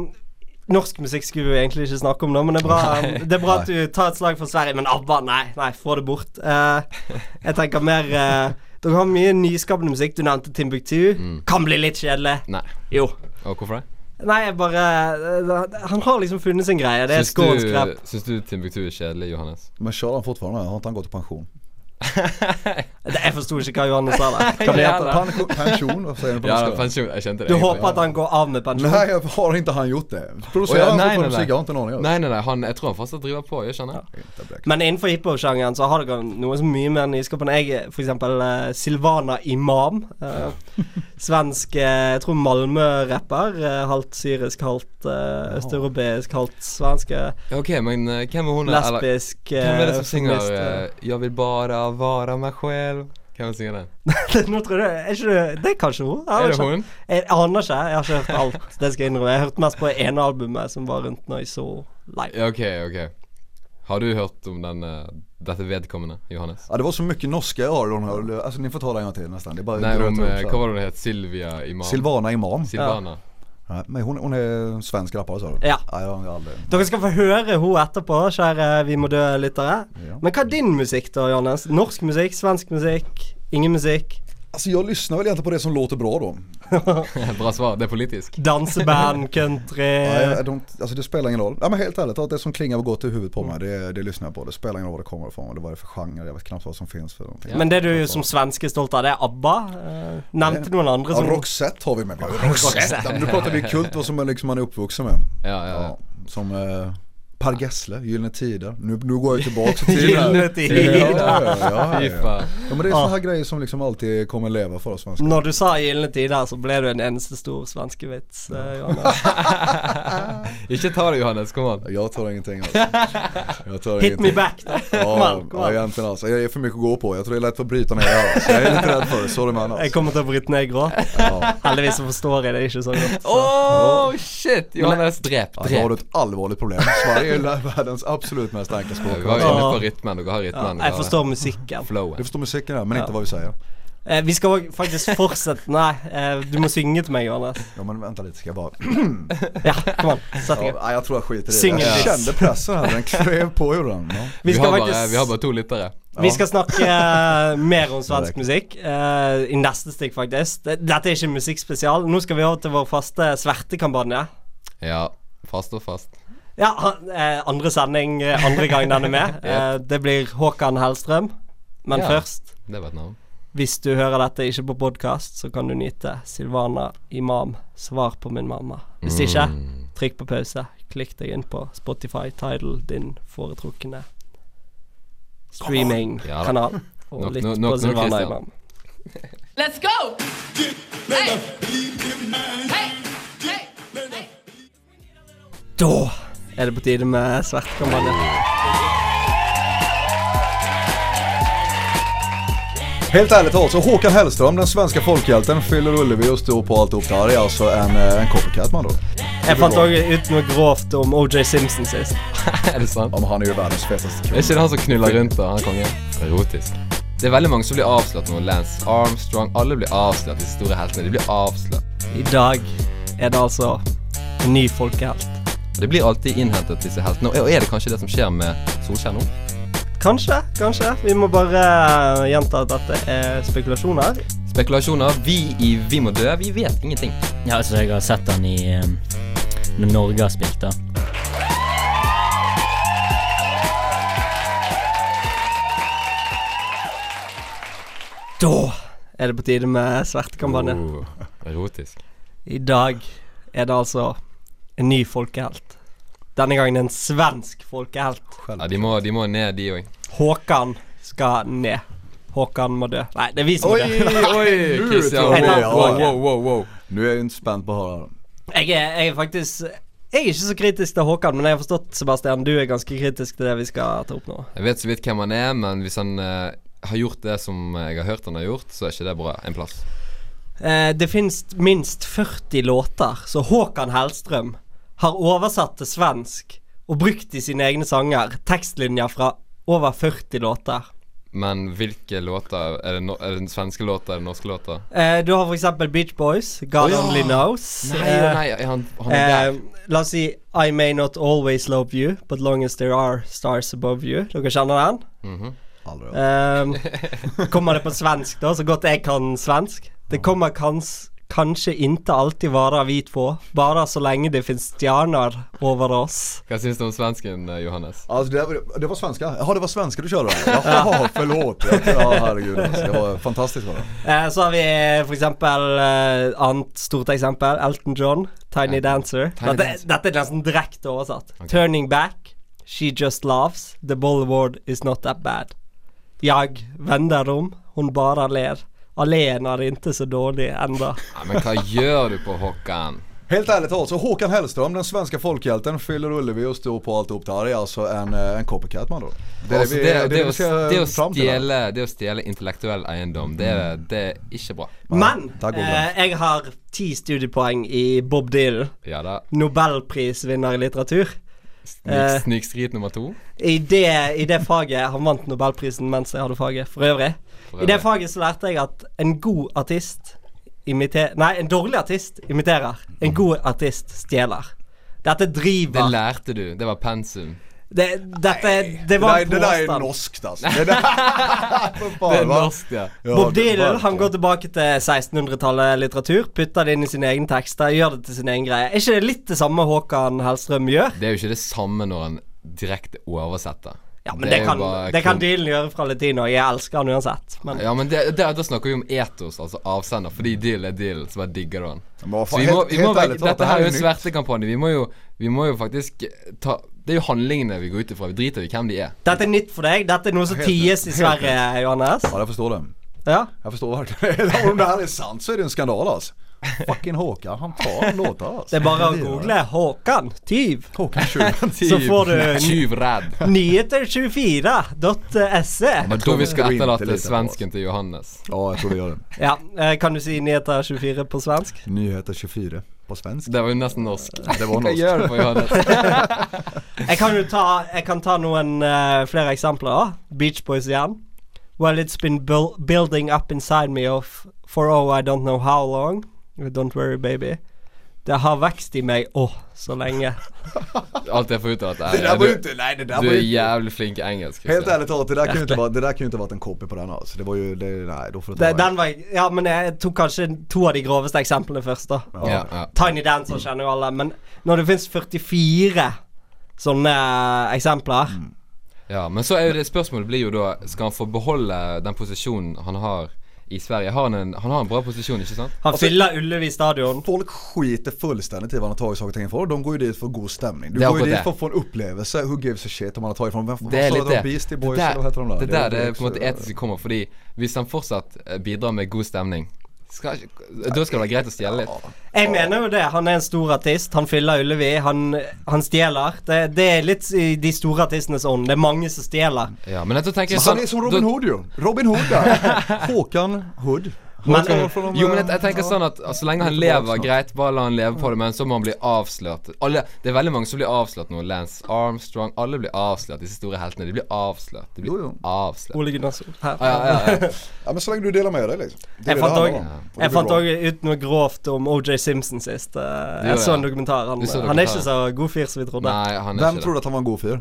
S1: norsk musikk skulle vi jo egentlig ikke snakke om nå, men det er bra, eh, det er bra at du tar et slag for Sverige. Men ABBA, nei, nei, få det bort. Eh, jeg tenker mer eh, Dere har mye nyskapende musikk. Du nevnte Timbuktu. Kan bli litt kjedelig.
S2: Nei.
S1: Jo.
S2: Og hvorfor det?
S1: Nei, jeg bare eh, Han har liksom funnet sin greie. Det er
S2: Syns du,
S1: skånsk rap.
S2: syns du Timbuktu er kjedelig, Johannes?
S4: Men kör han fortfarande? Har inte han gått i pension?
S1: Det- Jeg forsto ikke hva Johannes sa der. Hva det heter det?
S4: Pension, pension vad säger ni på
S2: Ja,
S4: norska?
S2: pensjon. Jeg kjente det.
S1: Du
S2: egentlig.
S1: håper at han går av med pensjon?
S4: Nej, jag har inte han gjort det.
S2: Å, ja,
S4: Producerar han
S2: nei,
S4: fortfarande
S2: nei, nei.
S4: musik? Jag har inte en aning. om det.
S2: Nei, nei, nei. Han, jeg tror han fortsatt driver på. Jeg skjønner.
S4: Inte blek.
S1: Men innenfor hiphop-sjangeren så har dere noe som er mye mer nyskapende. Jeg er for eksempel eh, Silvana Imam. eh, svensk eh, Jeg tror Malmö-rapper. eh, halvt syrisk, halvt eh, østeuropeisk, halvt svensk. eh,
S2: Ok, men eh, hvem er hun eh, eller-
S1: lesbisk eh,
S2: Hvem er det som synger
S1: feminist, eh.
S2: 'Jeg vil bare være meg selv'? Hvem synger den?
S1: Nå tror jeg Er ikke det Det er kanskje hun? Jeg vet
S2: Er det
S1: ikke.
S2: hun?
S1: Jeg aner ikke. Jeg har ikke hørt alt. Det skal jeg innrømme. Jeg har hørt mest på det ene albumet som var rundt når jeg så live.
S2: Ja, ok, ok. Har du hørt om den, eh, dette vedkommende, Johannes?
S4: Ja, det var så mycket norska jag har i de här. Alltså ni får ta det en gång till nästan. Det är bara
S2: Nei,
S4: gröt
S2: om
S4: upp så
S2: eh,
S4: här.
S2: Hva var det hun het? Silvia Imam?
S4: Silvana Imam.
S2: Silvana.
S4: Nej, men hon, hon är svensk rappare sa du?
S1: Ja.
S4: Nej, jag har aldrig...
S1: Dere skal få høre hun etterpå, kjære Vi må dø-lyttere.
S4: Ja.
S1: Men hva er din musikk, da, Johannes? Norsk musikk, svensk musikk, ingen musikk?
S4: Alltså jag lyssnar väl egentligen på det som låter bra då.
S2: Bra svar, det er politisk.
S1: Danseband, country
S4: Ja, jag, Eh, de, alltså det spelar ingen roll. Ja, men helt ärligt, att det som klingar och går till huvudet på mig, det, det lyssnar jag på. Det spelar ingen roll var det kommer ifrån, eller vad det är för genre, jag vet knappt vad som finns för någonting.
S1: Men det du som svenske är stolt av, det er ABBA. Eh, Nevnte noen andre
S4: Ja,
S1: som
S4: Roxette har vi med. Roxette! Ja, men nu pratar vi kult och som man liksom man är uppvuxen med.
S2: Ja, ja, ja.
S4: som eh, Per Gessle, Gyllene Tider. Nu, nu går jag tillbaks till
S1: Gyllene Tider.
S4: Ja, ja, ja,
S2: Fy
S4: ja.
S2: faen.
S4: ja men det är såna här grejer som liksom alltid kommer leva för oss svenskar.
S1: Når du sa 'Gylne tider', så ble du en eneste stor svenskevits. eh, Johannes.
S2: Ikke ta det, Johannes. Kom an.
S4: Jag tar ingenting alltså. Jag tar
S1: Hit me
S4: ingenting.
S1: back, da. Kom
S4: Ja,
S1: an, kom
S4: ja,
S1: an.
S4: egentligen alltså. Jag är för mycket att gå på. Jag tror det är lätt att bryta ner här. Alltså. Jag är lite rädd för det. Sorry man
S1: Jeg
S4: alltså.
S1: kommer til å bryte ned i gråt.
S4: Ja.
S1: Heldigvis så forstår jeg det ikke så godt. Så.
S2: Åh, shit! Johannes, drep,
S4: Alltså, har du
S2: drep.
S4: ett allvarligt problem. Sverige är världens absolut mest starka språk.
S2: Vi var jo
S1: Ja.
S2: inne på rytmen. Dere har
S1: Ja,
S2: rytmen.
S1: jeg
S2: dere har
S1: forstår musikken.
S4: Du
S2: Flowen.
S4: förstår musiken här men inte vad vi säger.
S1: Eh, vi skal òg faktisk fortsette Nei, eh, du må synge till mig Johannes.
S4: Ja men vänta lite, ska jag bara...
S1: Ja, kom an. Sett i
S4: Ja,
S1: gang.
S4: nej, jag tror jag skiter i det.
S1: Sing
S4: jag
S1: it.
S4: kände pressen här, den klev på gjorde den. Ja.
S1: Vi
S2: Vi,
S1: skal
S2: har bare,
S1: faktisk
S2: vi har bare to lyttere.
S1: Vi skal snakke eh, mer om svensk
S4: Korrekt.
S1: musikk eh, i neste stikk, faktisk. Det- Dette er ikke musikkspesial. Nå skal vi over til vår faste svertekampanje.
S2: Ja. Fast og fast.
S1: Ja, han- eh, andre sending, eh, andre gang den er med. Eh, det blir Håkan Hellstrøm. Men
S2: Ja.
S1: først,
S2: Det var et navn.
S1: hvis du hører dette ikke på podkast, så kan du nyte Silvana Imam, 'Svar på min mamma'. Hvis ikke,
S2: Mm.
S1: trykk på pause. Klikk deg inn på Spotify, Tidal, din foretrukne streamingkanal.
S2: Nok-
S1: Og litt
S2: nok-
S1: på
S2: nok- nok,
S1: Silvana
S2: Christian.
S1: Imam.
S6: Let's go! Hey! Hey! Hey! Hey!
S1: Da er det på tide med svertekampanje.
S4: Helt ärligt alltså, Håkan Hellström, den svenska folkhjälten, fyller Ullevi och står på alltihop. Det här är alltså en, eh, en copycat man då.
S1: Jeg fant òg ut noe grovt om OJ Simpson sist.
S2: Er det sant?
S4: Ja men han är ju världens fetaste
S2: Er
S4: kille.
S2: ikke det han som knuller rundt da, han kongen? Erotisk. Det er veldig mange som blir avslørt nå. Lance Armstrong. Alle blir avslørt, de store heltene. De blir avslørt.
S1: I dag er det altså en ny folkehelt.
S2: Det blir alltid innhentet, disse heltene. Og er det kanskje det som skjer med Solskjær nå?
S1: Kanskje, kanskje. Vi må bare eh, gjenta at dette er spekulasjoner.
S2: Spekulasjoner. Vi i Vi må dø, vi vet ingenting.
S7: Ja, altså, jeg har sett han i eh, Når Norge har spilt, da.
S1: Da er det på tide med svertekampanje.
S2: Oh, erotisk.
S1: I dag er det altså en ny folkehelt. Denne gangen en svensk folkehelt.
S2: Ja, de må, de må ned, de òg.
S1: Håkan skal ned. Håkan må dø. Nei, det er vi som må dø.
S2: Oi,
S4: Nu
S2: Christian.
S4: tror jag
S1: Wow,
S4: det,
S1: wow,
S4: ja.
S2: Wow, wow, wow.
S4: Nu är jag inte spänd på att höra.
S1: Jeg er, jeg er faktisk Jeg er ikke så kritisk til Håkan, men jeg har forstått, Sebastian, du er ganske kritisk til det vi skal ta opp nå.
S2: Jeg vet så vidt hvem han er, men hvis han eh, har gjort det som jeg har hørt han har gjort, så er ikke det bra. En plass.
S1: Eh, det finnes minst 40 låter, så Håkan Hellstrøm har oversatt til svensk og brukt i sine egne sanger tekstlinjer fra over 40 låter.
S2: Men hvilke låter? Er det, no er det svenske låter? Er det norske låter?
S1: Eh, du har for eksempel Beach Boys, God
S2: Å ja.
S1: Only Knows.
S2: Nei,
S1: Eh,
S2: nei, han, han er
S1: Eh,
S2: der.
S1: la oss si I may not always love you, but long as there are stars above you. Dere kjenner den?
S4: Aldrig.
S1: Ehm, kommer det på svensk, da? Så godt jeg kan svensk. Det kommer kans, kanskje inte alltid vara vi två, bara så lenge det finns stjerner over oss.
S2: Hva syns du om svensken, eh, Johannes?
S4: Alltså det, var- det var svenska. Jaha det var svenska du körde? Jaha förlåt. Ja herregud alltså. Det var fantastiskt var det.
S1: Eh, så har vi eh, for eksempel eh, annet stort eksempel, Elton John, Tiny Dancer.
S2: Tiny
S1: Dette,
S2: Dancer.
S1: dette er nesten direkte oversatt. Turning back, she just laughs, the bollyward is not that bad. Jag vänder om, hon bara ler. Alleen är inte så dålig enda.
S2: Nei, men hva gjør du på Håkan?
S4: Helt ärligt alltså, Håkan Hellström, den svenska folkhjälten, fyller Ullevi och står på alltihop. Det här är alltså en, eh, en copycat man då. Det
S2: Altså, det, det,
S4: vi
S2: å,
S4: ska
S2: det, å
S4: fram till här.
S2: stjele, det å stjele intellektuell eiendom, det,
S1: Mm.
S2: det er ikke bra.
S1: Men
S4: der går
S1: eh, jeg har ti studiepoeng i Bob Dylan.
S2: Ja da.
S1: Eh. Nobelprisvinner i litteratur. Eh.
S2: Snik, Snikskryt nummer to.
S1: I det, I det faget Han vant nobelprisen mens jeg hadde faget, for øvrig. I det faget så lærte jeg at en god artist imiterer Nei, en dårlig artist imiterer. En god artist stjeler. Dette
S2: Det
S1: driver
S2: lærte du. Det var pensum.
S1: Det, dette, det var
S4: det,
S1: en
S4: där- det där är
S1: påstand.
S4: norskt alltså. Det där, För fan,
S2: Det er
S4: va?
S2: norsk, ja.
S4: Ja,
S1: Bob Dylan
S4: verkligen.
S1: han går tilbake til 1600-tallet litteratur, putter det inn i sine egne tekster, gjør det til sin egen greie. Er ikke det litt det samme Håkan Hellstrøm gjør?
S2: Det er jo ikke det samme når han direkte oversetter.
S1: Ja, men
S2: er
S1: det,
S2: jo
S1: kan,
S2: bare
S1: det kan
S2: kun-
S1: Dylan gjøre fra latin, og jeg elsker han uansett. Men
S2: Ja, men det, det, da snakker vi om etos, altså avsender, fordi deal er deal, så bare digger du den.
S4: Men hva
S2: Så
S4: faen,
S2: vi må,
S4: helt-
S2: vi
S4: helt
S2: må,
S4: ærlig
S2: vekk-
S4: talt,
S2: dette her er jo en
S4: nytt.
S2: svertekampanje. Vi må jo, vi må jo faktisk ta Det er jo handlingene vi går ut ifra. Vi driter i hvem de er.
S1: dette er nytt for deg. Dette er noe som
S4: Helt
S1: ties i
S4: rett.
S1: Sverige, Johannes.
S4: Ja, jag förstår det.
S1: Ja.
S4: Jag förstår verkligen. det. Om det här är sant så är det en skandal alltså. Fucking Håkan, han tar låtar alltså.
S1: Det er bare å
S4: gör han.
S1: google 'Håkan tyv',
S4: Håkan Tjuven.
S1: så får du
S2: Tyvredd.
S1: nyheter24.se.
S2: Men da vi
S4: tror
S2: skal
S4: vi ikke
S2: etterlate
S4: litt på
S2: svensken til Johannes.
S4: Ja, jag tror vi gör det.
S1: Ja, eh, kan du si nyheter24 på svensk?
S4: Nyheter 24 på svensk.
S2: Det var jo nesten norsk.
S4: Det var
S2: Hva
S4: norsk.
S2: gjør du for Johannes?
S1: Jeg kan jo ta, jeg kan ta noen eh, flere eksempler. også. Beach Boys igjen. Well, it's been buil- building up inside me of for oh, I don't know how long. Don't worry, baby. Det har vekst i meg å, så lenge.
S2: Alt jeg får ut av dette, her
S4: Det där
S2: er
S4: var ju
S2: du,
S4: inte, nej det där
S2: du
S4: var
S2: er
S4: ju inte.
S2: jævlig flink i engelsk.
S4: Helt
S2: Christian.
S4: ärligt talat, det där kan ju inte vara, det där kan ju inte varit en copy på den alls. Det var ju, det, nej då får du ta
S1: Det,
S4: det.
S1: den var, ja, men jeg tok kanskje to av de groveste eksemplene først, da.
S2: Ja, ja.
S1: Tiny Dancer kjenner jo alle, men når det fins 44 sånne eh, eksempler
S2: Ja, men så er jo det spørsmålet blir jo da Skal han få beholde den posisjonen han har i Sverige? Har han en, han har en bra posisjon, ikke sant?
S1: Han fyller Ullevi stadion.
S4: Folk skiter fullständigt i vad han har tagit saker och ting ifrån. De går ju dit för god stämning. Du
S2: Det har
S4: går ju
S2: gått
S4: dit
S2: det.
S4: för att få en upplevelse. Who gives a shit om han har tagit ifrån. Vem fan
S2: Det er
S4: sa
S2: litt
S4: de
S2: det.
S4: Beastie
S2: det
S4: Boys eller vad heter de
S2: der, det
S4: där? var
S2: der er
S4: Beastie,
S2: på en måte
S4: ja.
S2: etisk kommer, fordi hvis han fortsatt eh, bidrar med god stemning skal, ikke- Da skal det være greit å stjele litt.
S1: Jeg mener jo det. Han er en stor artist. Han fyller Ullevi. Han, han stjeler. Det, det er litt i de store artistenes ånd. Det er mange som stjeler.
S2: Ja, men da tenker jeg
S4: Men han är som Robin
S2: da-
S4: Hood ju. Robin Hood där. Håkan Hood.
S1: Men-
S4: Håkan från de-
S2: Jo, men jeg, jeg tenker sånn at altså, så lenge han lever,
S4: snart.
S2: greit, bare la han leve på det, men så må han bli avslørt. Alle, det er veldig mange som blir avslørt nå. Lance Armstrong, alle blir avslørt. Disse store heltene. De blir avslørt. De blir
S4: Jo, jo.
S2: avslørt.
S1: Ole Gunnarsson. Her.
S2: Ja, ja, ja, ja.
S4: Ja men så länge du delar med dig liksom. Det är
S1: Jeg
S4: det
S1: fant
S4: det
S1: òg
S4: handlar om. Och det
S1: Jeg
S4: blir
S1: fant
S4: bra.
S1: òg ut noe grovt om OJ Simpson sist. Eh,
S2: ja.
S1: Jeg så en dokumentar. Han,
S2: Du så
S1: han er
S2: dokumentar.
S1: ikke så god fyr som vi trodde.
S2: Nei, han er
S4: Vem
S2: ikke
S4: trodde att han var en god fyr?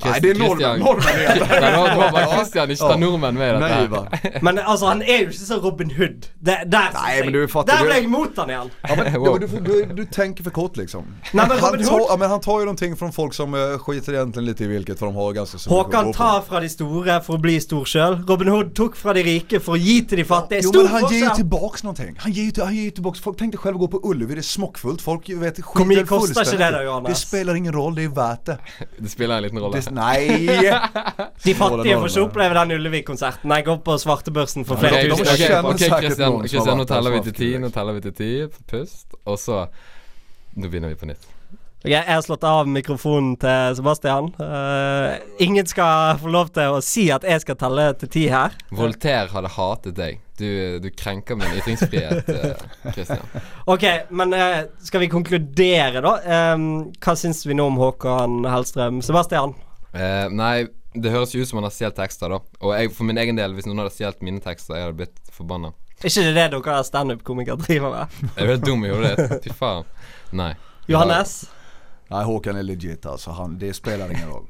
S2: Christ-
S4: Nej det är norrmän,
S2: Christian.
S4: norrmän är det.
S2: Nei, nå, nå var Christian ikke ta nordmenn med i dette.
S4: Nej
S2: her.
S4: va.
S1: Men altså, han er jo ikke så Robin Hood. Det, der,
S4: Nei, men du fatter
S1: der
S4: det.
S1: ble jeg imot han igjen.
S4: Ja, men,
S2: Wow.
S4: ja, men du, får- du, du tänker för kort liksom.
S1: Nej, men
S4: han,
S1: Robin
S4: tar,
S1: Hood-
S4: ja, men han tar ju någonting från folk som eh, skiter egentligen lite i vilket för de har ganska så mycket att
S1: Håkan
S4: gå på.
S1: tar fra de store for å bli stor sjøl. Robin Hood tok fra de rike for å gi til de fattige.
S4: Jo
S1: Stor
S4: men han ger ju
S1: forskjell.
S4: tillbaks någonting. Han ger ju, till- han ger ju tillbaks, folk tänkte själva gå på Ullevi, det är smockfullt, folk vet skiter
S1: Kommer det kosta sig
S4: fullständigt.
S1: det där, Johannes?
S4: Det spelar ingen roll, det är värt det.
S2: Det spiller en liten rolle.
S4: det nej!
S1: De fattige
S4: Snåle
S1: får ikke
S4: nordmenn.
S1: oppleve den Ullevi-konserten. Nei, går på svartebørsen for
S2: Ok,
S1: flere
S4: de
S2: ok,
S1: tusen.
S4: kjenner
S2: ok, ok,
S4: sikkert
S2: Christian,
S4: noen som har
S2: Christian, nå
S4: vært der
S2: teller vi
S4: som
S2: til
S4: har
S2: ti.
S4: vært
S2: Nå
S4: der.
S2: teller vi til ti. Pust. Og så Nå begynner vi på nytt.
S1: Ok, jeg har slått av mikrofonen til Sebastian. Eh, ingen skal få lov til å si at jeg skal telle til ti her.
S2: Voltaire hadde hatet deg. Du, du krenker min ytringsfrihet, eh, Christian.
S1: Ok, men eh, skal vi konkludere, da? Em, hva syns vi nå om Håkan Hellstrøm? Sebastian?
S2: Eh, nei, det høres jo ut som han har stjålet tekster, da. Og jeg, for min egen del, hvis noen hadde stjålet mine tekster, jeg hadde blitt forbanna.
S1: Er ikke det det dere standup-komikere driver med?
S2: Jeg er helt dum i hodet. Fy faen. Nei.
S1: Johannes?
S4: Nej Håkan är legit alltså, han, det spelar ingen roll.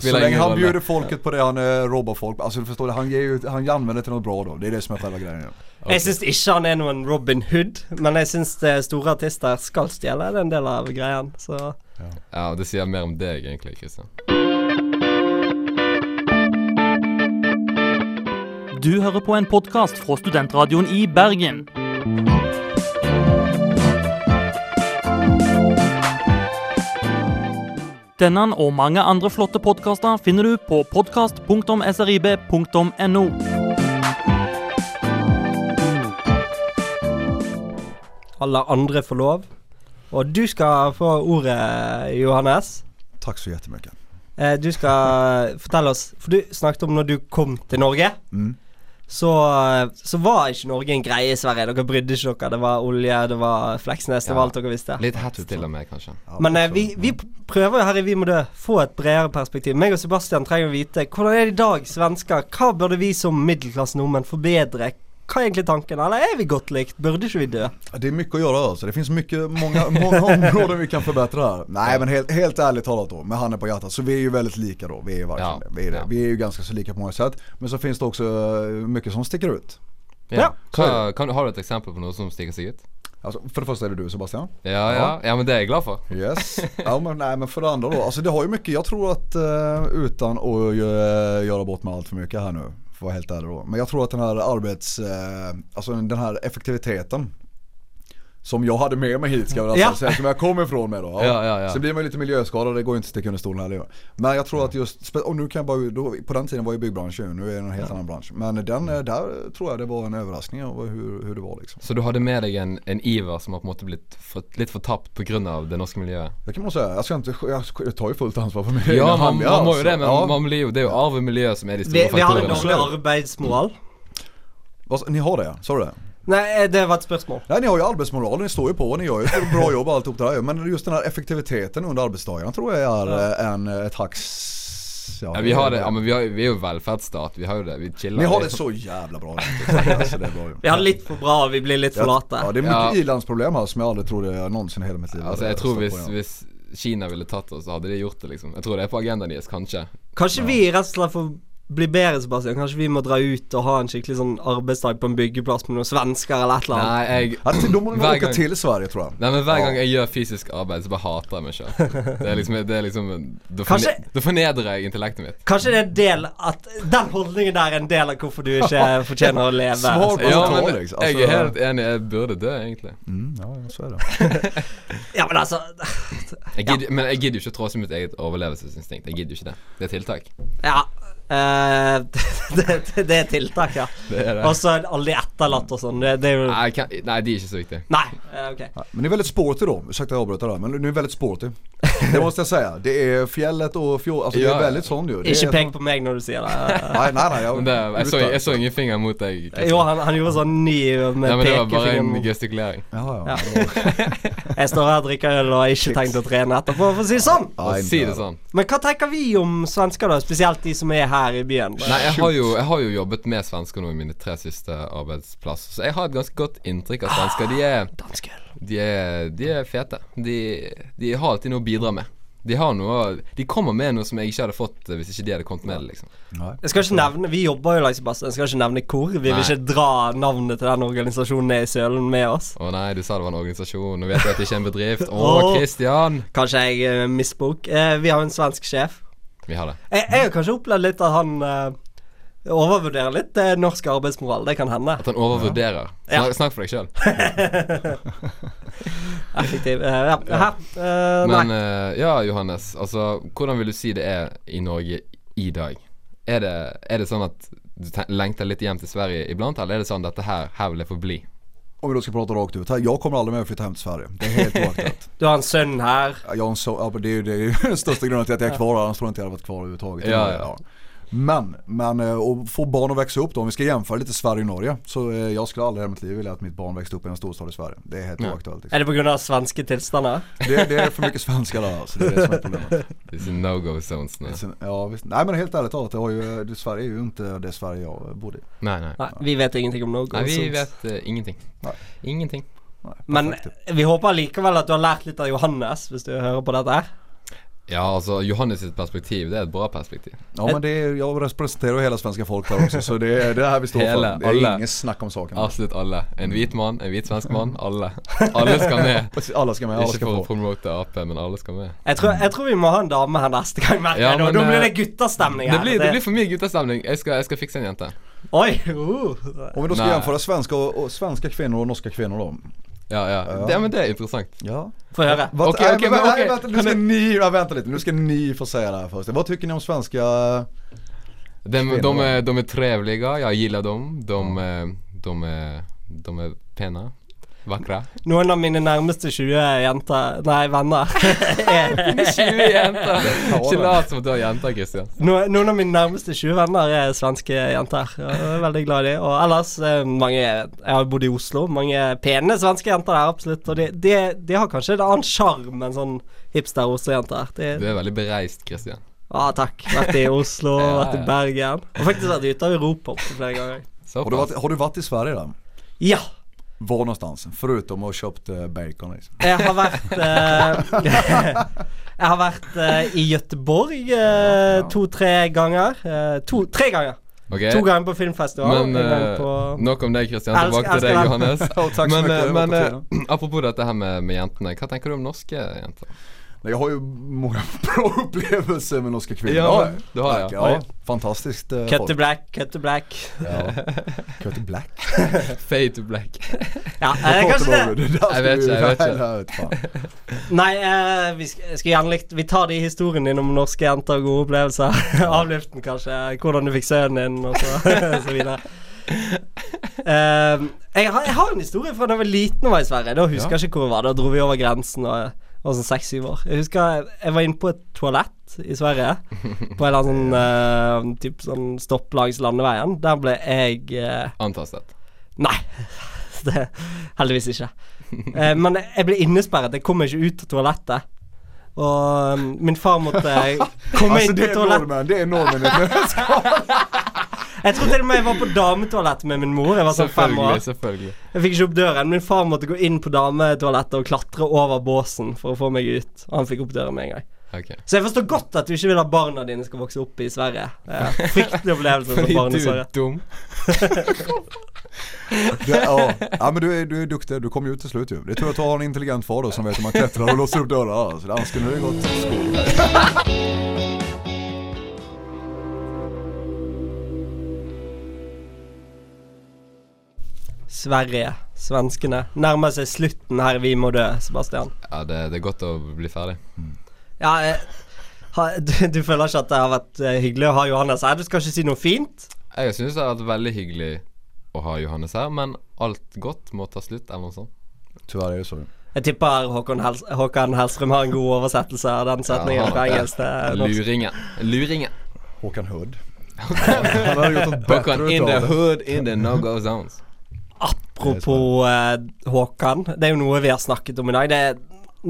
S2: spelar
S4: så länge
S2: ingen
S4: han
S2: roll.
S4: bjuder folket på det han eh, robbar folk, alltså du förstår det, han, ger ju, han använder det till något bra då. Det är det som är själva grejen.
S1: Jeg syns ikke han er noen Robin Hood, men jeg syns store artister skal stjele. Det er en del av greien. Så
S2: Ja, det sier mer om deg, egentlig, Christian.
S8: Du hører på en podkast fra studentradioen i Bergen. Denne og mange andre flotte podkaster finner du på podkast.srib.no.
S1: alle andre får lov. Og du skal få ordet, Johannes.
S4: Tack så jättemycket.
S1: Eh, Du skal fortelle oss For du snakket om når du kom til Norge.
S4: Mm.
S1: Så, eh, så var ikke Norge en greie i Sverige. Dere brydde ikke dere. Det var olje, det var Fleksnes, det
S2: Ja.
S1: var alt dere visste.
S2: Litt hets til og med, kanskje.
S4: Ja,
S1: Men eh,
S4: så-
S1: vi, vi prøver jo her i Vi må dø få et bredere perspektiv. Meg og Sebastian trenger å vite hvordan er det i dag, svensker? Hva burde vi som middelklasse nordmenn forbedre? hva er egentlig tanken? Eller er vi godt likt? Burde ikke vi dø?
S4: Det är mycket att göra alltså. Det finns mycket, många, många områden vi kan förbättra här. Nej men helt, helt ärligt talat då, med handen på hjärtat. Så vi är ju väldigt lika då. Vi är ju verkligen
S2: Ja.
S4: det. Vi är, det.
S2: Ja.
S4: vi är ju ganska så lika på många sätt. Men så finns det också eh, mycket som sticker ut.
S2: Ja.
S4: så er
S2: Hva, kan, har du et eksempel på noe som stikker seg ut?
S4: Alltså, för det första är det du Sebastian.
S2: Ja, ja. ja, men det er jeg glad for.
S4: Yes. Ja, men, nej, men för det andra då. Alltså det har ju mycket, jag tror att eh, utan att eh, göra bort mig allt för mycket här nu. För att vara helt ärlig då. Men jag tror att den här arbets, eh, alltså den här effektiviteten. Som jag hade med mig hit ska jag väl
S1: Ja.
S4: säga, som jag kom ifrån med då.
S2: Ja, ja, Mm. ja.
S4: Så blir man ju lite miljöskadad, det går ju inte att sticka under stolen heller. Men jag tror att just, spe- och nu kan jag bara, då, på den tiden var ju byggbranschen, nu är det en helt annan bransch. Men den,
S2: Mm.
S4: eh, där tror jag det var en överraskning av hur, hur det var liksom.
S2: Så du hadde med deg en, en iver som har på en måte blitt for, litt fortapt pga. det norske miljøet?
S4: Det kan man säga, jag, ska inte, jag ska- jag tar ju fullt ansvar för mig
S2: Ja, man, man må jo det, men man blir jo, det er jo arv og miljø som er de
S1: Vi,
S2: store
S1: vi har en
S2: faktorene.
S1: dårlig arbeidsmoral.
S4: Vad- Ni har det, sa du det?
S1: Nei, eh, det var et spørsmål.
S4: Nej ni har ju arbetsmoralen, ni står ju på, ni gör ju ett bra jobb och allt det där. Men just den här effektiviteten under arbetsdagarna tror jeg är eh, en, ett hacks...
S2: Ja, vi, har det, ja, men vi, har, vi er jo velferdsstat, vi har jo det. Vi chiller.
S4: Ni har det
S2: litt.
S4: så jävla bra. Alltså, det är bra ju.
S1: Vi har det litt for bra, og vi blir litt for late.
S4: Ja, det är mycket
S2: Ja.
S4: ilandsproblem här som jag aldrig trodde jag någonsin i hela mitt liv
S2: Altså,
S4: hade
S2: jeg tror
S4: stött
S2: hvis,
S4: på innan.
S2: hvis Kina ville tatt oss, så hadde de gjort det, liksom. Jeg tror det er på agendaen deres, kanskje.
S1: Kanskje vi rett og slett får bli bedre, Sebastian. Kanskje vi må dra ut og ha en skikkelig sånn arbeidsdag på en byggeplass med noen svensker eller et eller annet.
S2: Nei, jeg
S4: Ja, till- Då måste
S2: Hver
S4: man åka
S2: gang-
S4: till Sverige tror jag.
S2: Nei, men Hver
S4: Ja.
S2: gang jeg gjør fysisk arbeid, så bare hater jeg meg sjøl. Det er liksom, det er liksom da, forne,
S1: Kanskje-
S2: da fornedrer jeg intellektet mitt.
S1: Kanskje det er en del at den holdningen der er en del av hvorfor du ikke fortjener å leve.
S4: Svar
S1: ja.
S4: på-
S2: Ja,
S4: Altså,
S2: men
S4: Alex, altså-
S2: jeg er helt enig. Jeg burde dø, egentlig.
S4: Mm, ja, så är det.
S1: ja, men altså
S2: Jeg gidder, Men jeg gidder jo ikke å tråse mitt eget overlevelsesinstinkt. Jeg gidder jo ikke det. Det er tiltak.
S1: Ja. eh, det, det, det er tiltak, ja.
S2: Det er det.
S1: Og så alle de etterlatt og sånn. Det, det er jo
S2: Nei, jeg kan, nei, de er ikke så viktige.
S1: Nei. eh, ok.
S4: Ja, Men det är väldigt sportigt då, ursäkta jag avbryter där, men nu är det väldigt sportigt. Det måste jag säga. Det är fjället och fjord, alltså det
S2: Ja,
S4: är
S2: ja.
S4: väldigt sånt ju. Det är
S1: Ikke
S4: sån-
S2: sånn.
S1: pek på meg når du sier det. Eh,
S4: Nej, nej, nej.
S2: Men det, jeg, så, jeg så ingen finger mot deg. Kristian.
S1: Jo, han, han gjorde sånn ny med
S2: Nei, men Det var bare
S1: pekefingeren.
S2: en
S1: mot-
S2: gestikulering.
S4: Ja, ja.
S1: Ja. Jeg står her og drikker øl og har ikke tenkt å trene etterpå, for å si det sånn.
S4: Nei,
S2: si
S4: nei.
S2: det sånn.
S1: Men hva tenker vi om svensker, da? Spesielt de som er her i byen.
S2: Nei, jeg har, jo, jeg har jo jobbet med svensker nå i mine tre siste arbeidsplasser, så jeg har et ganske godt inntrykk av svensker. De er,
S1: Dansker.
S2: de er, de er fete. De, de har alltid noe å bidra med. De, har noe, de kommer med noe som jeg ikke hadde fått eh, hvis ikke de hadde kommet med det. liksom
S1: Jeg skal ikke nevne, Vi jobber jo langs Sebastian, jeg skal ikke nevne hvor. Vi vil
S2: Nei.
S1: ikke dra navnet til den organisasjonen ned i sølen med oss.
S2: Å nei, du sa det var en organisasjon. Nå vet jeg at det ikke er en bedrift. Å,
S1: Åh.
S2: Christian!
S1: Kanskje jeg eh, misbok. Eh, vi har jo en svensk sjef.
S2: Vi har det.
S1: Jeg, jeg har kanskje opplevd litt at han eh, overvurderer litt eh, norsk arbeidsmoral. Det kan hende.
S2: At han overvurderer.
S1: Ja.
S2: Snak, snakk for deg sjøl.
S1: Effektiv. Eh, ja. Hæ? Eh,
S2: Men
S1: nei.
S2: eh, ja, Johannes. Altså, hvordan vil du si det er i Norge i dag? Er det, er det sånn at du te- lengter litt hjem til Sverige iblant, eller er det sånn dette her, her vil jeg få bli?
S4: Om vi då ska prata rakt ut här. Jag kommer aldrig mer att flytta hem till Sverige. Det är helt oaktat.
S1: Du har en sønn her.
S4: Jag har en so- ja, men det är ju det är ju den största grunden till att jag är kvar här. Annars tror jag inte jag hade varit kvar överhuvudtaget.
S2: Ja, ja.
S4: Men, men eh, att få barn att växa upp då. Om vi ska jämföra lite Sverige och Norge. Så eh, jag skulle aldrig i hela mitt liv vilja att mitt barn växte upp i en storstad i Sverige. Det är helt oaktuellt. Liksom.
S1: Er det pga. svenske tilstander?
S4: Det, det är för mycket svenskar där alltså. Det är det som är problemet.
S2: Disse no go zones nå.
S4: Sen, ja, visst. Nej men helt ärligt talat, det har ju, det, Sverige er ju inte det Sverige jag bodde i.
S2: Nei, nei.
S1: Nei, sånn- vi vet ingenting om noe.
S2: Nei, vi
S1: så-
S2: vet eh, ingenting.
S4: Nei.
S2: Ingenting.
S4: Nej,
S1: Men
S4: perfekt.
S1: vi håper likevel at du har lært litt av Johannes, hvis du hører på dette her.
S2: Ja, altså, Johannes sitt perspektiv, det er et bra perspektiv.
S4: Ja men det är, jag representerar ju hela svenska folk där också så det är det här vi står
S2: Hela,
S4: för. Det är
S2: alla.
S4: inget snack om saken.
S2: Absolutt alle. En hvit mann, en hvit svensk mann. Alle. Alle skal med.
S4: Alla ska med, alla
S2: Ikke
S4: ska
S2: for å
S4: få.
S2: promote Ap, men alle skal med.
S1: Jeg tror, jeg tror vi må ha en dame her neste gang. merker
S2: Ja,
S1: jeg nå.
S2: men,
S1: Da blir
S2: eh,
S1: det guttastemning
S2: Det
S1: her.
S2: blir, det blir for mye guttastemning. Jeg skal, jeg skal fikse en jente.
S1: Oi! Uh.
S4: Om vi då ska
S2: Nej.
S4: jämföra svenska, och, och svenska kvinnor och norska kvinnor då.
S2: Ja, ja.
S4: Ja.
S2: Det, men det er interessant.
S4: Ja.
S1: Få høre.
S4: Vad,
S2: Okej,
S4: nej,
S2: okej,
S4: men,
S2: men
S4: nej,
S2: okej.
S4: vänta, nu
S2: Kan
S4: ska
S2: du-
S4: ni, ja, vänta lite, nu ska ni få säga det här först. Vad tycker ni om svenska?
S2: De, de, är, de är trevliga, jag gillar dem. De, är- de, är, de är pena, vackra.
S1: Noen av mine nærmeste 20 jenter Nei, venner. er-
S2: 20 jenter! Ikke
S4: det.
S2: lat som at du har jenter, Christian.
S1: no- Noen av mine nærmeste 20 venner er svenske jenter. og Jeg er veldig glad i dem. Og ellers eh, mange Jeg har bodd i Oslo. Mange pene svenske jenter der, absolutt. Og de, de, de har kanskje en annen sjarm enn sånn hipster-Oslo-jenter. De-
S2: Du er veldig bereist, Christian.
S1: Ja, takk. Vært i Oslo,
S2: Ja,
S1: vært i
S2: ja.
S1: Bergen. Og faktisk vært ute av Europa opptil flere ganger.
S2: Så
S4: Har du,
S2: pass.
S4: varit, har du varit i Sverige då?
S1: Ja.
S4: Var någonstans? Förutom att köpt eh, bacon liksom.
S1: Jeg har vært eh, Jeg har vært eh, i Göteborg to-tre ganger. Eh, to, tre ganger.
S2: Ok.
S1: To ganger på filmfestival.
S2: Men
S1: en gang
S2: eh,
S1: på
S2: nok om deg, Kristian.
S1: Jeg elsker-
S2: Tilbake
S1: elsker
S2: til deg,
S1: den.
S2: Johannes.
S4: Ja, tack så
S2: men
S4: mycket,
S2: eh,
S4: det var
S2: men
S4: på
S2: eh,
S4: tiden.
S2: apropos dette her med, med jentene. Hva tenker du om norske jenter?
S4: Nej, Jag har ju många bra upplevelser med norska kvinnor.
S2: Ja, men du har
S4: Tack,
S2: det.
S4: ja.
S2: Oj.
S4: Fantastiskt eh,
S1: Cut to
S4: folk.
S1: black, cut to black.
S4: Ja. Cut the black.
S2: Fade to black.
S1: Ja, eh, kanskje det.
S2: Jag vet inte, jag vet inte.
S4: inte.
S1: Nei, eh, vi skal, skal gjerne likt Vi tar de historiene dine om norske jenter og gode opplevelser. Avluften, kanskje. Hvordan du fikk sønnen din, og så, så videre. Eh, jeg, har, jeg har en historie fra da jeg var liten og var i Sverige. Da husker jeg ikke hvor jeg var. Da dro vi over grensen og jeg var sånn seks-syv år. Jeg husker jeg, jeg var inne på et toalett i Sverige. På en eller annen sånn, eh, typ sånn stopp langs landeveien. Der ble jeg eh,
S2: Antastet.
S1: Nei. Det, heldigvis ikke. Eh, men jeg ble innesperret. Jeg kom ikke ut av toalettet. Og um, min far måtte eh, komme
S2: Altså,
S4: Alltså
S1: inn
S4: det
S1: på
S4: är
S1: toalettet.
S4: normen, det är normen.
S1: Jeg tror til og med jeg var på dametoalettet med min mor. Jeg var sånn fem
S2: Selvfølgelig.
S1: år.
S2: selvfølgelig
S1: Jeg fikk ikke opp døren. Min far måtte gå inn på dametoalettet og klatre over båsen for å få meg ut. Og han fikk opp døren med en gang.
S2: Ok.
S1: Så jeg forstår godt at du ikke vil at barna dine skal vokse opp i Sverige. Eh, fryktelig opplevelse for
S2: Fordi
S1: barn
S2: du
S1: i Sverige.
S2: er dum.
S4: Det, ja. ja men du är, du är duktig, du kom ju ut till slut ju. Det är tur att du har en intelligent far då som vet hur man klättrar och låser upp dörrar. Alltså, annars skulle det gått skog.
S1: Sverige, svenskene, nærmer seg slutten her i Vi må dø, Sebastian.
S2: Ja, det, det er godt å bli ferdig.
S1: Ja, eh, ha, du, du føler ikke at det har vært eh, hyggelig å ha Johannes her? Du skal ikke si noe fint?
S2: Jeg syns det har vært veldig hyggelig å ha Johannes her, men alt godt må ta slutt, eller noe sånt.
S4: Tyvärr är det så.
S1: Jeg tipper Håkon, Hels Håkan Hellstrøm har en god oversettelse av den setningen fra engelsk til norsk.
S2: Luringen. Luringen.
S4: Håkan Hurd. Han har gjort något bättre
S2: Håkan in the
S4: utav det.
S2: hood, in the no go zones.
S1: Apropos eh, Håkan, det er jo noe vi har snakket om i dag. Det er,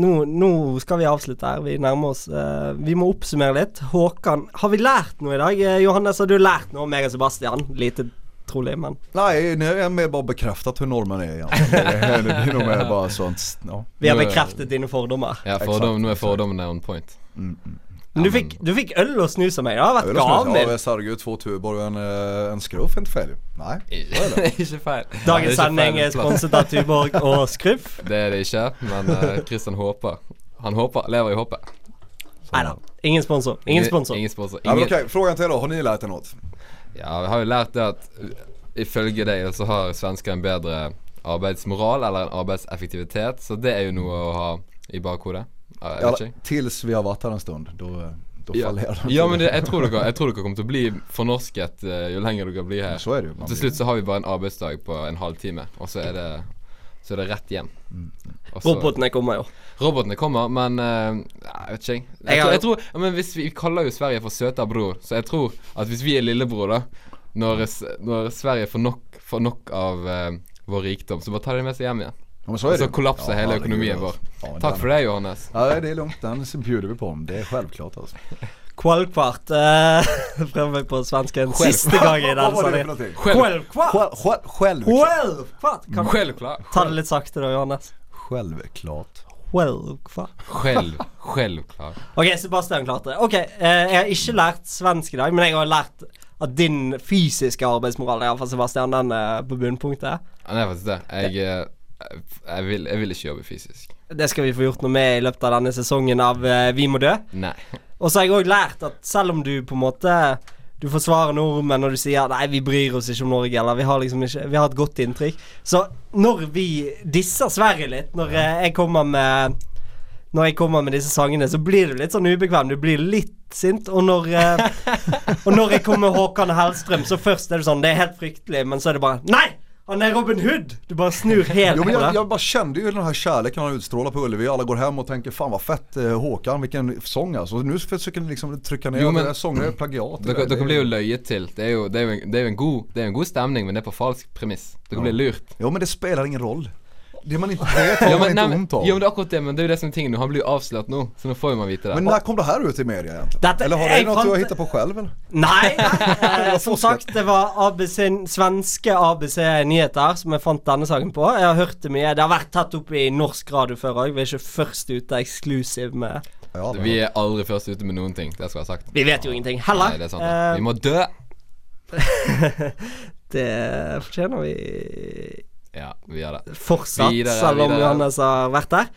S1: nå, nå skal vi avslutte her. Vi nærmer oss eh, Vi må oppsummere litt. Håkan, har vi lært noe i dag? Eh, Johannes, har du lært noe om meg og Sebastian? Lite trolig, men
S4: Nej, nu har jag mer bara bekräftat hur normen är egentligen. Det är- Det är nog mer bara sånt. Ja.
S1: vi har
S2: Nå er-
S1: bekreftet dine fordommer.
S2: Ja, fordom, nå er fordommene on point.
S1: Men du fikk, du fikk øl og snus av meg. Det har vært
S4: Öl och snus. Ja,
S1: gaven.
S4: jag säljer ju två tuber och en, eh, en skruff, inte fel ju. Nej.
S2: ikke feil. Det er
S1: Dagens
S2: ikke
S1: sending
S2: feil
S1: er
S2: plass.
S1: sponset av Tuborg og Skruff.
S2: Det er det ikke, men eh, Kristian håper. Han håper, lever i håpet.
S1: Nei da. Ingen sponsor. Ingen sponsor.
S2: Sånn. Ingen sponsor.
S4: Ja, men
S2: Ingen,
S4: okej, frågan till er då. Har ni lärt er något?
S2: ja, vi har jo lært det at uh, ifølge deg så har svensker en bedre arbeidsmoral eller en arbeidseffektivitet, så det er jo noe å ha i bakhodet. Ja, jeg
S4: Ja,
S2: vet ikke.
S4: tills vi har varit här en stund. Då, eh, då
S2: Ja,
S4: faller den.
S2: ja men det, jeg, tror dere, jeg tror dere kommer til å bli fornorsket eh, jo lenger dere blir her.
S4: Så är det ju. Man
S2: Til
S4: blir-
S2: slutt så har vi bare en arbeidsdag på en halvtime, og så er det, så er det rett hjem.
S4: Mm.
S2: Og så-
S1: Robotene kommer jo.
S2: Robotene kommer, men eh, jeg vet ikke. Jeg,
S1: Jeg
S2: jeg,
S1: har jo-
S2: tror, jeg tror, ja, men hvis vi, vi kaller jo Sverige for søta bror, så jeg tror at hvis vi er lillebror, da Når, s- når Sverige får nok, får nok av eh, vår rikdom, så bare tar de det med seg hjem igjen.
S4: Ja, men så är
S2: Og
S4: det
S2: så
S4: ju.
S2: kollapser
S4: Ja,
S2: hele
S4: herregud,
S2: økonomien vår.
S4: alltså. Ja, men
S2: Takk
S4: den-
S2: for det, Johannes.
S4: Ja, det är lugnt. Den så bjuder vi på. dem. Det är självklart alltså.
S1: Kvalkvart eh, fremme på svensken siste gang i den
S4: Vad var det för
S1: sendingen.
S4: någonting?
S2: Själv,
S1: Kvalkvart!
S4: Själ- själ- Självklart.
S1: Kvalkvart! Kan du
S2: självklart.
S1: ta det litt sakte da, Johannes?
S4: Självklart.
S1: Kvalkvart.
S2: Själv, självklart.
S1: Ok, Sebastian klarte det. Ok, eh, Jeg har ikke lært svensk i dag, men jeg har lært at din fysiske arbeidsmoral, iallfall Sebastian, den er på bunnpunktet.
S2: Ja, Nei, faktisk det. Jeg, eh, jeg, vil, jeg vil ikke jobbe fysisk.
S1: Det skal vi få gjort noe med i løpet av denne sesongen av eh, Vi må dø.
S2: Nei.
S1: Og så har jeg òg lært at selv om du på en måte Du forsvarer nordmenn når du sier Nei, vi bryr oss ikke om Norge, eller vi har liksom ikke Vi har et godt inntrykk. Så når vi disser Sverige litt, når eh, jeg kommer med når jeg kommer med disse sangene, så blir du litt sånn ubekvem. Du blir litt sint. Og når, eh, og når jeg kommer med Håkan Hellstrøm, så først er det sånn Det er helt fryktelig, men så er det bare Nei! Han er Robin Hood! Du bare snur helt
S4: Jo,
S1: på
S4: men jag,
S1: det.
S4: jag bara kände ju den här kärleken han utstrålar på Ullevi. Alla går hem och tänker fan vad fett eh, Håkan, vilken sång alltså. Nu försöker ni liksom trycka ner
S2: Jo,
S4: att
S2: men-
S4: det här sånger är plagiat. Det
S2: Dere,
S4: där,
S2: dere
S4: det är-
S2: blir jo løyet til. Det er jo, det er jo, en, det er jo en, god, det er en god stemning, men det er på falsk premiss. Dere blir lurt.
S4: Jo men det spelar ingen roll. Det man inte vet har
S2: Ja,
S4: man
S2: men,
S4: inte
S2: nej, men,
S4: ont om.
S2: jo, men det er akkurat det, men det er jo det som er tingen nå. Han blir jo avslørt nå, så nå får jo man vite det.
S4: Men när kom det här ut i media egentligen?
S1: Detta-
S4: eller har det
S1: jag
S4: något du har
S1: fant-
S4: hittat på själv eller?
S1: Nei! eh, Som
S4: forskning.
S1: sagt, det var ABC, svenske ABC Nyheter som jeg fant denne saken på. Jeg har hørt det mye. Det har vært tatt opp i norsk radio før òg. Vi er ikke først ute eksklusiv med
S4: Ja, det-
S2: Vi er aldri først ute med noen ting. Det skal jeg ha sagt.
S1: Vi vet jo ingenting
S2: Nei,
S1: heller.
S2: det er sant.
S1: Eh,
S2: Vi må dø!
S1: det fortjener vi
S2: Ja, vi gjør det.
S1: fortsatt,
S2: Videre,
S1: selv om
S2: videre.
S1: Johannes har vært der.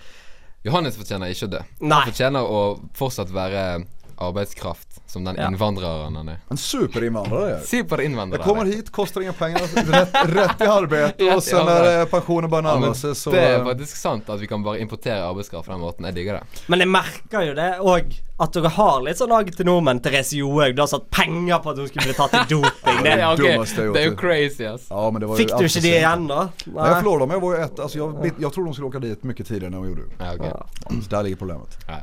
S2: Johannes fortjener ikke å dø.
S1: Nei.
S2: Han fortjener å fortsatt være arbeidskraft, som den
S1: Ja.
S2: innvandreren han er.
S4: En superinvandrare jag är.
S2: Superinnvandrer.
S4: Jag kommer hit, kostar inga pengar, rätt, rätt i arbete och sen när eh, pensionen börjar närma sig så...
S2: det er
S4: eh,
S2: faktisk sant at vi kan bare importere arbeidskraft på den måten. Jeg digger det.
S1: Men jeg merker jo det òg, at dere har litt sånn agg til nordmenn. Therese Johaug, du har satt penger på at hun skulle bli tatt i doping. Det,
S2: Ja, ok,
S4: dummaste jeg har
S2: Det er jo
S4: gjort.
S2: crazy, ass.
S4: Ja men det var ju
S1: fikk du
S4: allt
S1: ikke
S4: för
S1: de
S4: sent.
S1: igjen, da?
S4: Nej jag förlorade dem, jag var ju ett, alltså jag, jag trodde de skulle åka dit mycket tidigare än vad de gjorde.
S2: Ja, ok. ja.
S4: Så där ligger problemet.
S2: ja.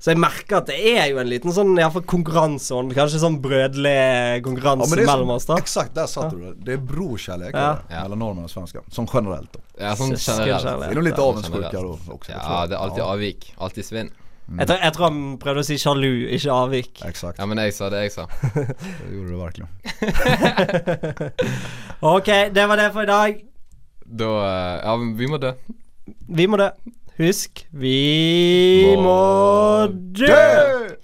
S1: Så jeg merker at det er jo en liten sånn i hvert fall konkurranseånd. Kanskje sånn brødlig
S4: Ja,
S1: konkurranse
S4: men det sånn är som-
S1: mellom oss, da.
S4: Exakt, där satte du det. Det är brorkärlek
S1: Ja.
S4: det där, mellan norrmän och svenskar. Som generellt då.
S2: Ja, sånn
S1: Søskenkjærlighet.
S2: generelt.
S4: Är de lite
S2: Ja,
S4: avundsjuka då
S2: generellt.
S4: också? jag tror
S2: Ja,
S4: jag.
S2: det er alltid avvik. Alltid svinn.
S1: Jeg tror, jeg tror han prøvde å si sjalu, ikke avvik.
S4: Exakt,
S2: Ja, men jeg sa det jeg sa.
S4: det gjorde du verkligen.
S1: Ok, det var det for i dag.
S2: Da eh, Ja, men vi må dø.
S1: Vi må dø. Husk, vi må
S2: Må
S1: dø!